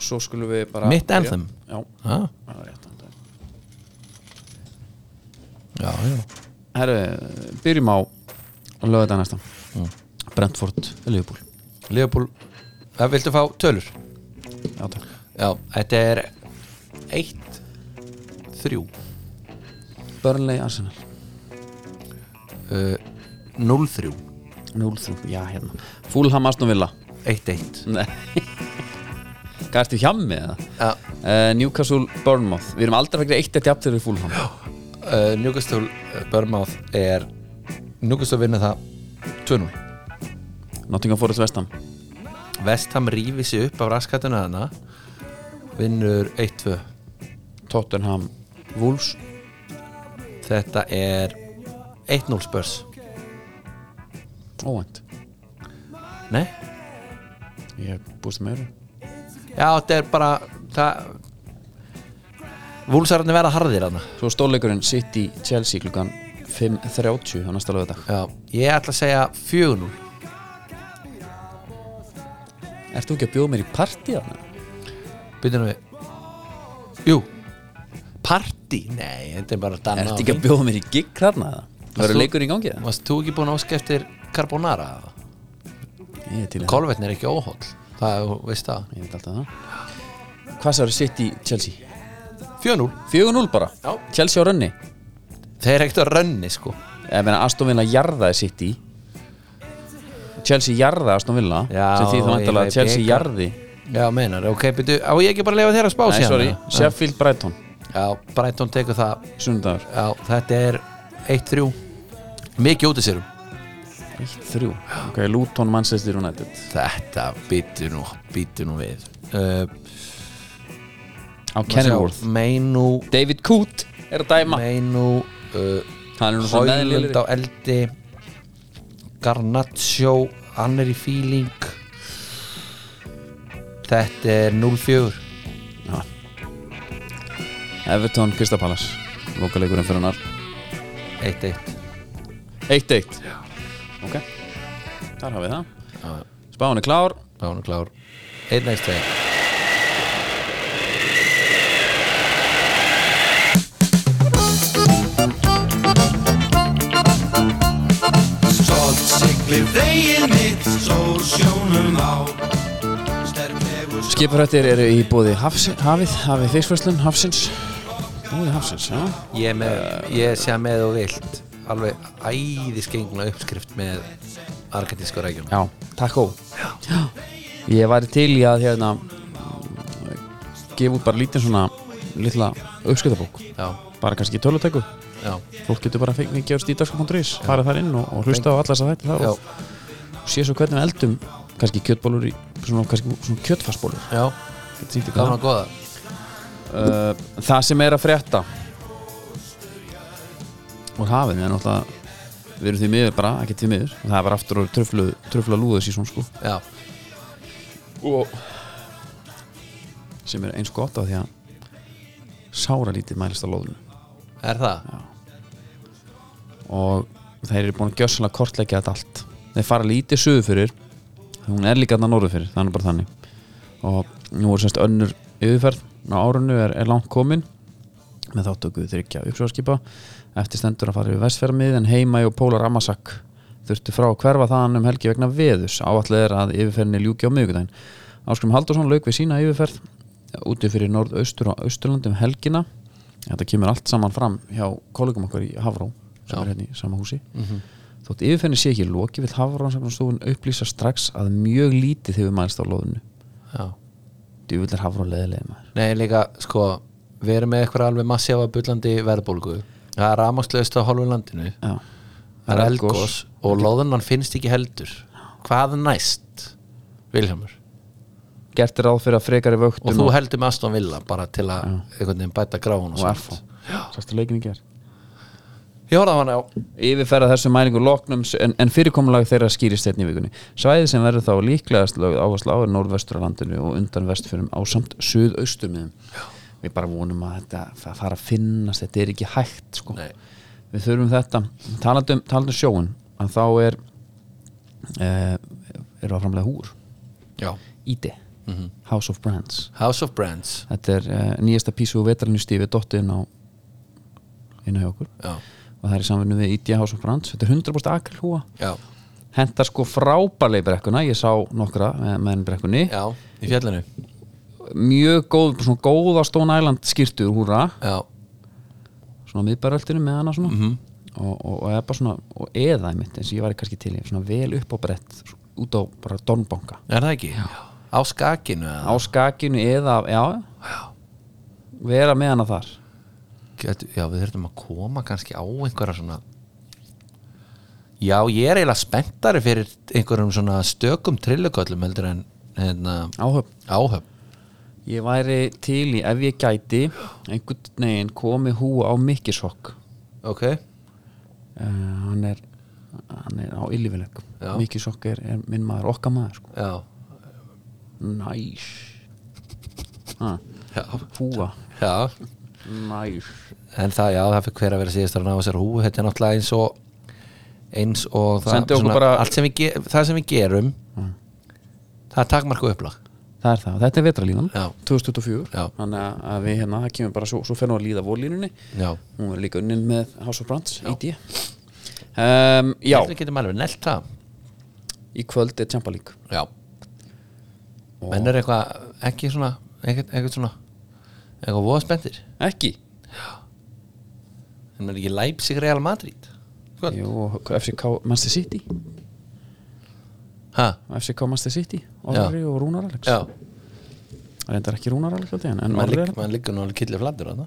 Speaker 1: Svo skulum við bara
Speaker 2: Mitt
Speaker 1: byrja.
Speaker 2: Anthem?
Speaker 1: Já,
Speaker 2: já,
Speaker 1: það er rétt andar.
Speaker 2: já, já.
Speaker 1: Herru, byrjum á lögðu þetta næsta Brentford, Liverpool
Speaker 2: Leopold, það viltu fá tölur
Speaker 1: Já, takk
Speaker 2: já, þetta er 1 3 uh,
Speaker 1: Burnley, Arsenal
Speaker 2: uh, 0 3
Speaker 1: 0-3, já hérna Fulham, Aston Villa
Speaker 2: 1 1
Speaker 1: Nei Gæstu hjá mig eða?
Speaker 2: Já.
Speaker 1: Eh, Newcastle Bournemouth Við erum aldrei fyrir eitt eitt jafn til við fúlum
Speaker 2: uh, Newcastle Börmáð er Newcastle vinnur það 2-0
Speaker 1: Nottingham Forest Vestam
Speaker 2: Vestham rífið sér upp af raskatuna hana vinnur 1-2
Speaker 1: Tottenham Wolves
Speaker 2: þetta er 1-0 spörs
Speaker 1: Óvænt
Speaker 2: nei,
Speaker 1: Ég búist með öru
Speaker 2: já þetta er bara það Vúlsararnir verða harðir hana
Speaker 1: Svo stóleikurinn City Chelsea klukkan 5.30 á næsta lögadag
Speaker 2: Já, ég ætla að segja 4-0
Speaker 1: Ert þú ekki að bjóða mér í partí þarna?
Speaker 2: Býtum við Jú Parti? Nei, þetta er bara danna
Speaker 1: Ert ekki að bjóða mér í gig þarna? eða? Það
Speaker 2: Varst
Speaker 1: eru
Speaker 2: þú-
Speaker 1: leikur í gangi það?
Speaker 2: Varst þú ekki búin að óska eftir carbonara?
Speaker 1: Ég er til í það
Speaker 2: Kolvetn er ekki óhóll Það er, þú veist það
Speaker 1: Ég veit alltaf það Hvað sá eru City Chelsea?
Speaker 2: 4-0
Speaker 1: 4-0 bara
Speaker 2: Já.
Speaker 1: Chelsea á rönni
Speaker 2: Þeir er ekkert að rönni sko
Speaker 1: ef hérna Aston Villa jarðaði City Chelsea jarðaði Aston Villa
Speaker 2: Já,
Speaker 1: sem því þá
Speaker 2: ég
Speaker 1: vantalega
Speaker 2: veit
Speaker 1: að Chelsea
Speaker 2: ekki.
Speaker 1: jarði
Speaker 2: Já, meinar, ok, býtu Á ég ekki bara að lefa þér að spá
Speaker 1: Nei,
Speaker 2: síðan
Speaker 1: sorry,
Speaker 2: eða?
Speaker 1: Sheffield Brighton
Speaker 2: Já, Brighton tekur það
Speaker 1: Sundagur,
Speaker 2: Já, þetta er 1-3 Mikið út í sérum
Speaker 1: 1-3 Ok, Luton, Manchester United
Speaker 2: Þetta býtu nú, býtu nú við uh,
Speaker 1: á Kenilworth
Speaker 2: Meinu
Speaker 1: David Coote er að dæma
Speaker 2: Meinu uh,
Speaker 1: Hann er nú svo
Speaker 2: Hólund á
Speaker 1: meðlilegri
Speaker 2: eldi Garnaccio hann er í feeling Þetta er 0-4
Speaker 1: Everton, Crystal Palace Lokaleikurinn fyrir hannar
Speaker 2: 1-1
Speaker 1: 1-1 Ok, þar hafið það Spáin er klár
Speaker 2: Já, hún er klár 1 næst þegar
Speaker 4: Stolt siglir veginn mitt, sól sjónum á Sterklegur
Speaker 1: Skipurhættir eru í bóði hafs, hafið, hafið fiskfæslun, hafsins Flóði hafsins, já
Speaker 2: Ég, er með, ég sé með og vilt alveg æðiskenguna uppskrift með argentísku rækjum
Speaker 1: Já, takkó Já. Ég væri til í að hérna gefa út bara lítið svona litla uppskiptabók
Speaker 2: já,
Speaker 1: bara kannski í töluteku
Speaker 2: já,
Speaker 1: fólk getur bara fengið gefst í dagskrá.is farið þar inn og, og hlusta á allas að þetta
Speaker 2: já,
Speaker 1: og sé svo hvernig við eldum kannski kjötbólur í svona, kannski svona kjötfarsbólur
Speaker 2: já
Speaker 1: Get sýnt ykkur
Speaker 2: gaman
Speaker 1: það.
Speaker 2: og goða
Speaker 1: Uh, það sem er að frétta úr hafið er náttúrulega við erum því miður bara, ekki því miður það er bara aftur og tröflu, tröfla lúðu sísón sko
Speaker 2: já,
Speaker 1: og sem er eins gott af því að sára lítið mælist á lóðinu
Speaker 2: er það?
Speaker 1: og þeir eru búin að gjössalega kortleggja þetta allt þeir fara lítið sögur fyrir hún er líka þarna norður fyrir, þannig bara þannig og nú er semst önnur yfirferð á árunnu er, er langt komin með þáttöku þryggja uppsjóðskipa eftir stendur að fara yfir vestfermið en heima og Pólar Amasak þurftu frá að hverfa þaðan um helgi vegna veðus áallega er að yfirferðinni ljúki á miðvikudaginn Áskrum Haldursson lauk við sína yfirferð úti fyrir norðaustur og austurlandi um helgina þetta kemur allt saman fram hjá kollegum okkar í Hafró sem er hérna í sama húsi
Speaker 2: Mhm.
Speaker 1: þótt yfirferðinni sé ekki loki vill Hafró stofun upplýsa strax að mjög lítið hefur mælst á loðinu
Speaker 2: já
Speaker 1: djúvill er Hafró leðilega maður
Speaker 2: Nei, líka, sko, við erum með eitthvað alveg massífa bullandi verðbólgu það er rafmagnslaust á hálfu landinu
Speaker 1: Já.
Speaker 2: það er elgos og loðunan finnst ekki heldur hvað næst, Vilhjámur
Speaker 1: gert er ráð fyrir að frekari vöktum
Speaker 2: og þú heldur með Aston Villa bara til að einhvern veginn bæta gráun
Speaker 1: og
Speaker 2: og, svona.
Speaker 1: FH Sástu leikin í ger
Speaker 2: Ég horfði á hann á
Speaker 1: Yfirferða þessu mælingu loknum en, en fyrirkomulag þeirra skýrist þetta í vikunni Svæði sem verður þá líklegast lögð áherslu á er norðvesturlandinu og undan vestfyrum á samt suðausturmiðum Við bara vonum að þetta það fara að finnast, þetta er ekki hægt sko.
Speaker 2: Nei.
Speaker 1: Við þurfum þetta Talandi um, talandi um sjóun að þá er e, eru að framlega húr
Speaker 2: já.
Speaker 1: Íti,
Speaker 2: Mhm.
Speaker 1: House of Brands
Speaker 2: House of Brands
Speaker 1: Þetta er e, nýjasta písu og vetranu stífi dottin á inn á hjá okkur
Speaker 2: já,
Speaker 1: og það er í samvinnu við IDH House of Brands þetta er 100% akrylhúa
Speaker 2: já,
Speaker 1: hendar sko frábærlega í brekkuna ég sá nokkra eh, með, með henni í brekkunni
Speaker 2: já, í fjallinu
Speaker 1: mjög góð, svona góða Stone Island skýrtur húra,
Speaker 2: já,
Speaker 1: svona á miðbæröltinu með hana svona
Speaker 2: Mhm.
Speaker 1: og, og, og er bara svona, og eða einmitt eins og ég væri kannski til í, svona vel upp á brett svo- út á bara Donbonga
Speaker 2: er það ekki? Já. á skakinu
Speaker 1: á skakinu eða, já vera með hana þar
Speaker 2: Gætu, já, við þurfum að koma kannski á einhverja svona já, ég er eiginlega spenntari fyrir einhverjum svona stökum trilluköllum heldur en hérna,
Speaker 1: áhöfn
Speaker 2: áhöf
Speaker 1: Ég væri til í, ef ég gæti einhvern veginn komi hú á Mikkisokk
Speaker 2: ok,
Speaker 1: uh, hann er hann er á yllifileg
Speaker 2: Já.
Speaker 1: Miki Sokk er, er minn maður, okkar maður sko.
Speaker 2: já,
Speaker 1: næs ha,
Speaker 2: já,
Speaker 1: húa
Speaker 2: já
Speaker 1: næs
Speaker 2: en það, já, það fyrir hver að vera síðast að ná þessar húu, þetta er náttúrulega eins og eins og það,
Speaker 1: Sendu okkur bara-
Speaker 2: allt sem við, ge- það sem við gerum það er takmarku upplag
Speaker 1: það er það, þetta er vetralínan
Speaker 2: Já.
Speaker 1: 2024,
Speaker 2: Já.
Speaker 1: þannig að- að við hérna það kemur bara svo, svo fer nú að líða vorlínunni
Speaker 2: já,
Speaker 1: hún verður líka unnin með House of Brands ID um, já,
Speaker 2: við getum alveg nelt það
Speaker 1: í kvöld er Champa League
Speaker 2: já menn er eitthvað, ekki svona eitthvað, eitthvað svona eitthvað voða spenntir
Speaker 1: ekki,
Speaker 2: en er ekki Leipzig Real Madrid Sko. Hvað?
Speaker 1: Jú, og FCK Manchester City
Speaker 2: ha,
Speaker 1: FCK Manchester City,
Speaker 2: Já.
Speaker 1: Orri og Rúnar Alex
Speaker 2: já,
Speaker 1: reyndar ekki Rúnar Alex held ég, en- en
Speaker 2: mann
Speaker 1: Orri
Speaker 2: ligg-
Speaker 1: er-
Speaker 2: mann liggur nú alveg killið flattur þarna.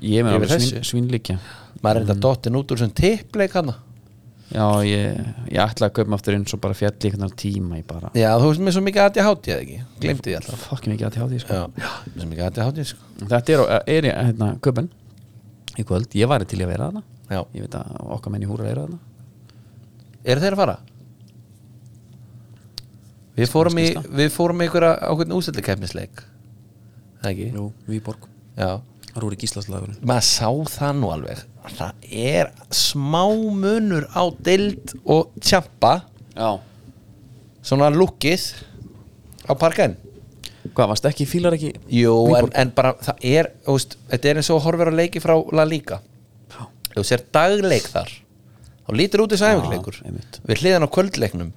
Speaker 1: ég meina
Speaker 2: Yfir
Speaker 1: alveg
Speaker 2: þessu.
Speaker 1: svín, svínlíkja
Speaker 2: maður er þetta dottin út úr sem tippleik hana
Speaker 1: Já, ég, ég ætla að kaupa mig aftur inn svo bara fjalli einhvern veginn tíma ég bara
Speaker 2: já, þú veist mér svo mikið aðti hátíð eða ekki, glemti því alltaf
Speaker 1: fokkin ekki að tjá því sko.
Speaker 2: já, mér svo mikið aðti hátíð sko.
Speaker 1: Þetta er, á- er í, hérna, köpun í kvöld, ég væri til í að vera þarna
Speaker 2: já,
Speaker 1: ég veit að okkar menn í húra eru þarna
Speaker 2: eru þeir að fara? við fórum í
Speaker 1: Skýrsla.
Speaker 2: við fórum í einhverja ákveðin ústætlikefnisleik ekki,
Speaker 1: Jú, Víborg,
Speaker 2: já
Speaker 1: Rúri Gíslaslagur
Speaker 2: maður sá það nú alveg það er smá munur á dild og tjampa
Speaker 1: Já
Speaker 2: svona lukkið á parkinn
Speaker 1: Hvað, varst ekki, fílar ekki
Speaker 2: Jú, en,
Speaker 1: Viborg.
Speaker 2: en bara það er þú veist, þetta er eins og horfir á leiki frá La Liga
Speaker 1: Já.
Speaker 2: Ef þú sér dagleik þar þá lítur út þessu æfingleikur
Speaker 1: einmitt.
Speaker 2: við hliðan á kvöldleiknum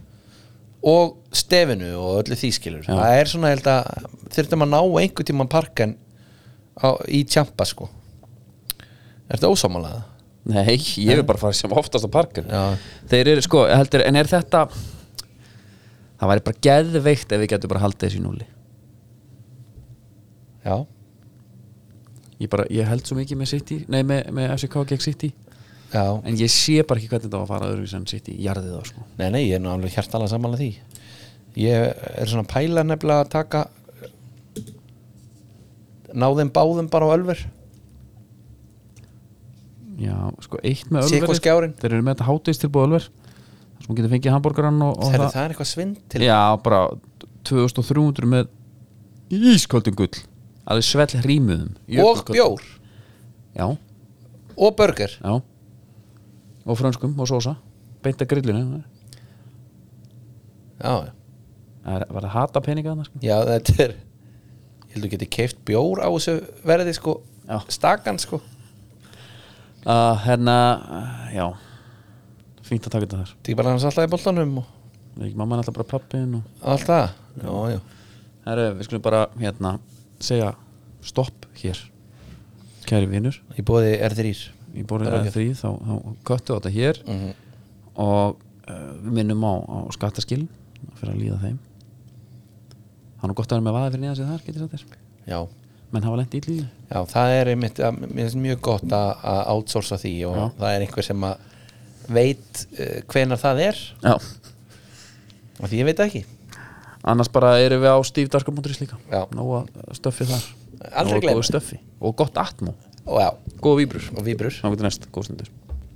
Speaker 2: og stefinu og öllu þýskilur
Speaker 1: Já.
Speaker 2: það er svona, ég held að þyrftum að ná einhver tíma parkinn á, í tjampa sko Ertu ósámálaða?
Speaker 1: Nei, ég er bara að fara sem oftast á parkin
Speaker 2: Já.
Speaker 1: Þeir eru sko, heldur, en er þetta Það væri bara geðveikt ef við getum bara haldið þessu í núli
Speaker 2: Já
Speaker 1: Ég, bara, ég held svo mikið með City Nei, með, með FCK gegn City
Speaker 2: Já
Speaker 1: En ég sé bara ekki hvernig þetta var að fara öðruvísi en City Jarðið þá sko
Speaker 2: Nei, nei, ég er nú alveg hjartalega samanlega því Ég er svona að pæla nefnilega að taka Ná þeim báðum bara á ölver
Speaker 1: Já, sko, eitt með
Speaker 2: Sé
Speaker 1: Ölver
Speaker 2: hvað skjárinn.
Speaker 1: Þeir eru með þetta hátis tilbúið Ölver Þar sem hún getur fengið hambúrgarann og, og
Speaker 2: Herri, það er eitthvað svind til
Speaker 1: Já, bara 2300 með ísköldum gull Alveg svell hrímuðum
Speaker 2: Og
Speaker 1: Jökulköldum.
Speaker 2: bjór
Speaker 1: Já,
Speaker 2: Og burger
Speaker 1: Já Og frönskum og sósa Beint að grillinu
Speaker 2: Já,
Speaker 1: Það er- var að hata peninga þarna sko
Speaker 2: já þetta er Ég held að geti keift bjór á þessu verði sko
Speaker 1: Já.
Speaker 2: Stakan sko
Speaker 1: uh, Hérna, uh, já Fínt að taka þetta þar
Speaker 2: Tík bara hans alltaf í boltanum og
Speaker 1: Það er ekki mamma alltaf bara pappin og
Speaker 2: allt það Já, já
Speaker 1: Herru, við skulum bara hérna segja stopp hér Kæri vinur
Speaker 2: Ég bóði R3
Speaker 1: Í borðið að þrý þá, þá köttu þetta hér
Speaker 2: Mhm.
Speaker 1: Og uh, við minnum á, á skattaskil Fyrir að líða þeim Það er nú gott að vera með vaði fyrir neðan sér þar Getur þetta þér
Speaker 2: Já,
Speaker 1: Menn hafa lent ítlíði
Speaker 2: Já, það er einmitt, að- mér finnst mjög gott að, að outsourca því og
Speaker 1: Já.
Speaker 2: það er einhver sem að veit uh, hvenar það er
Speaker 1: Já
Speaker 2: og því ég veit það ekki
Speaker 1: annars bara erum við á stífdarka.is líka
Speaker 2: Já.
Speaker 1: nóga stöffi þar
Speaker 2: Aldrei
Speaker 1: Nóga góðu
Speaker 2: gleyma.
Speaker 1: stöffi og gott atmó
Speaker 2: og já,
Speaker 1: góð víbrur
Speaker 2: og víbrur
Speaker 1: þá getur næst góð stundur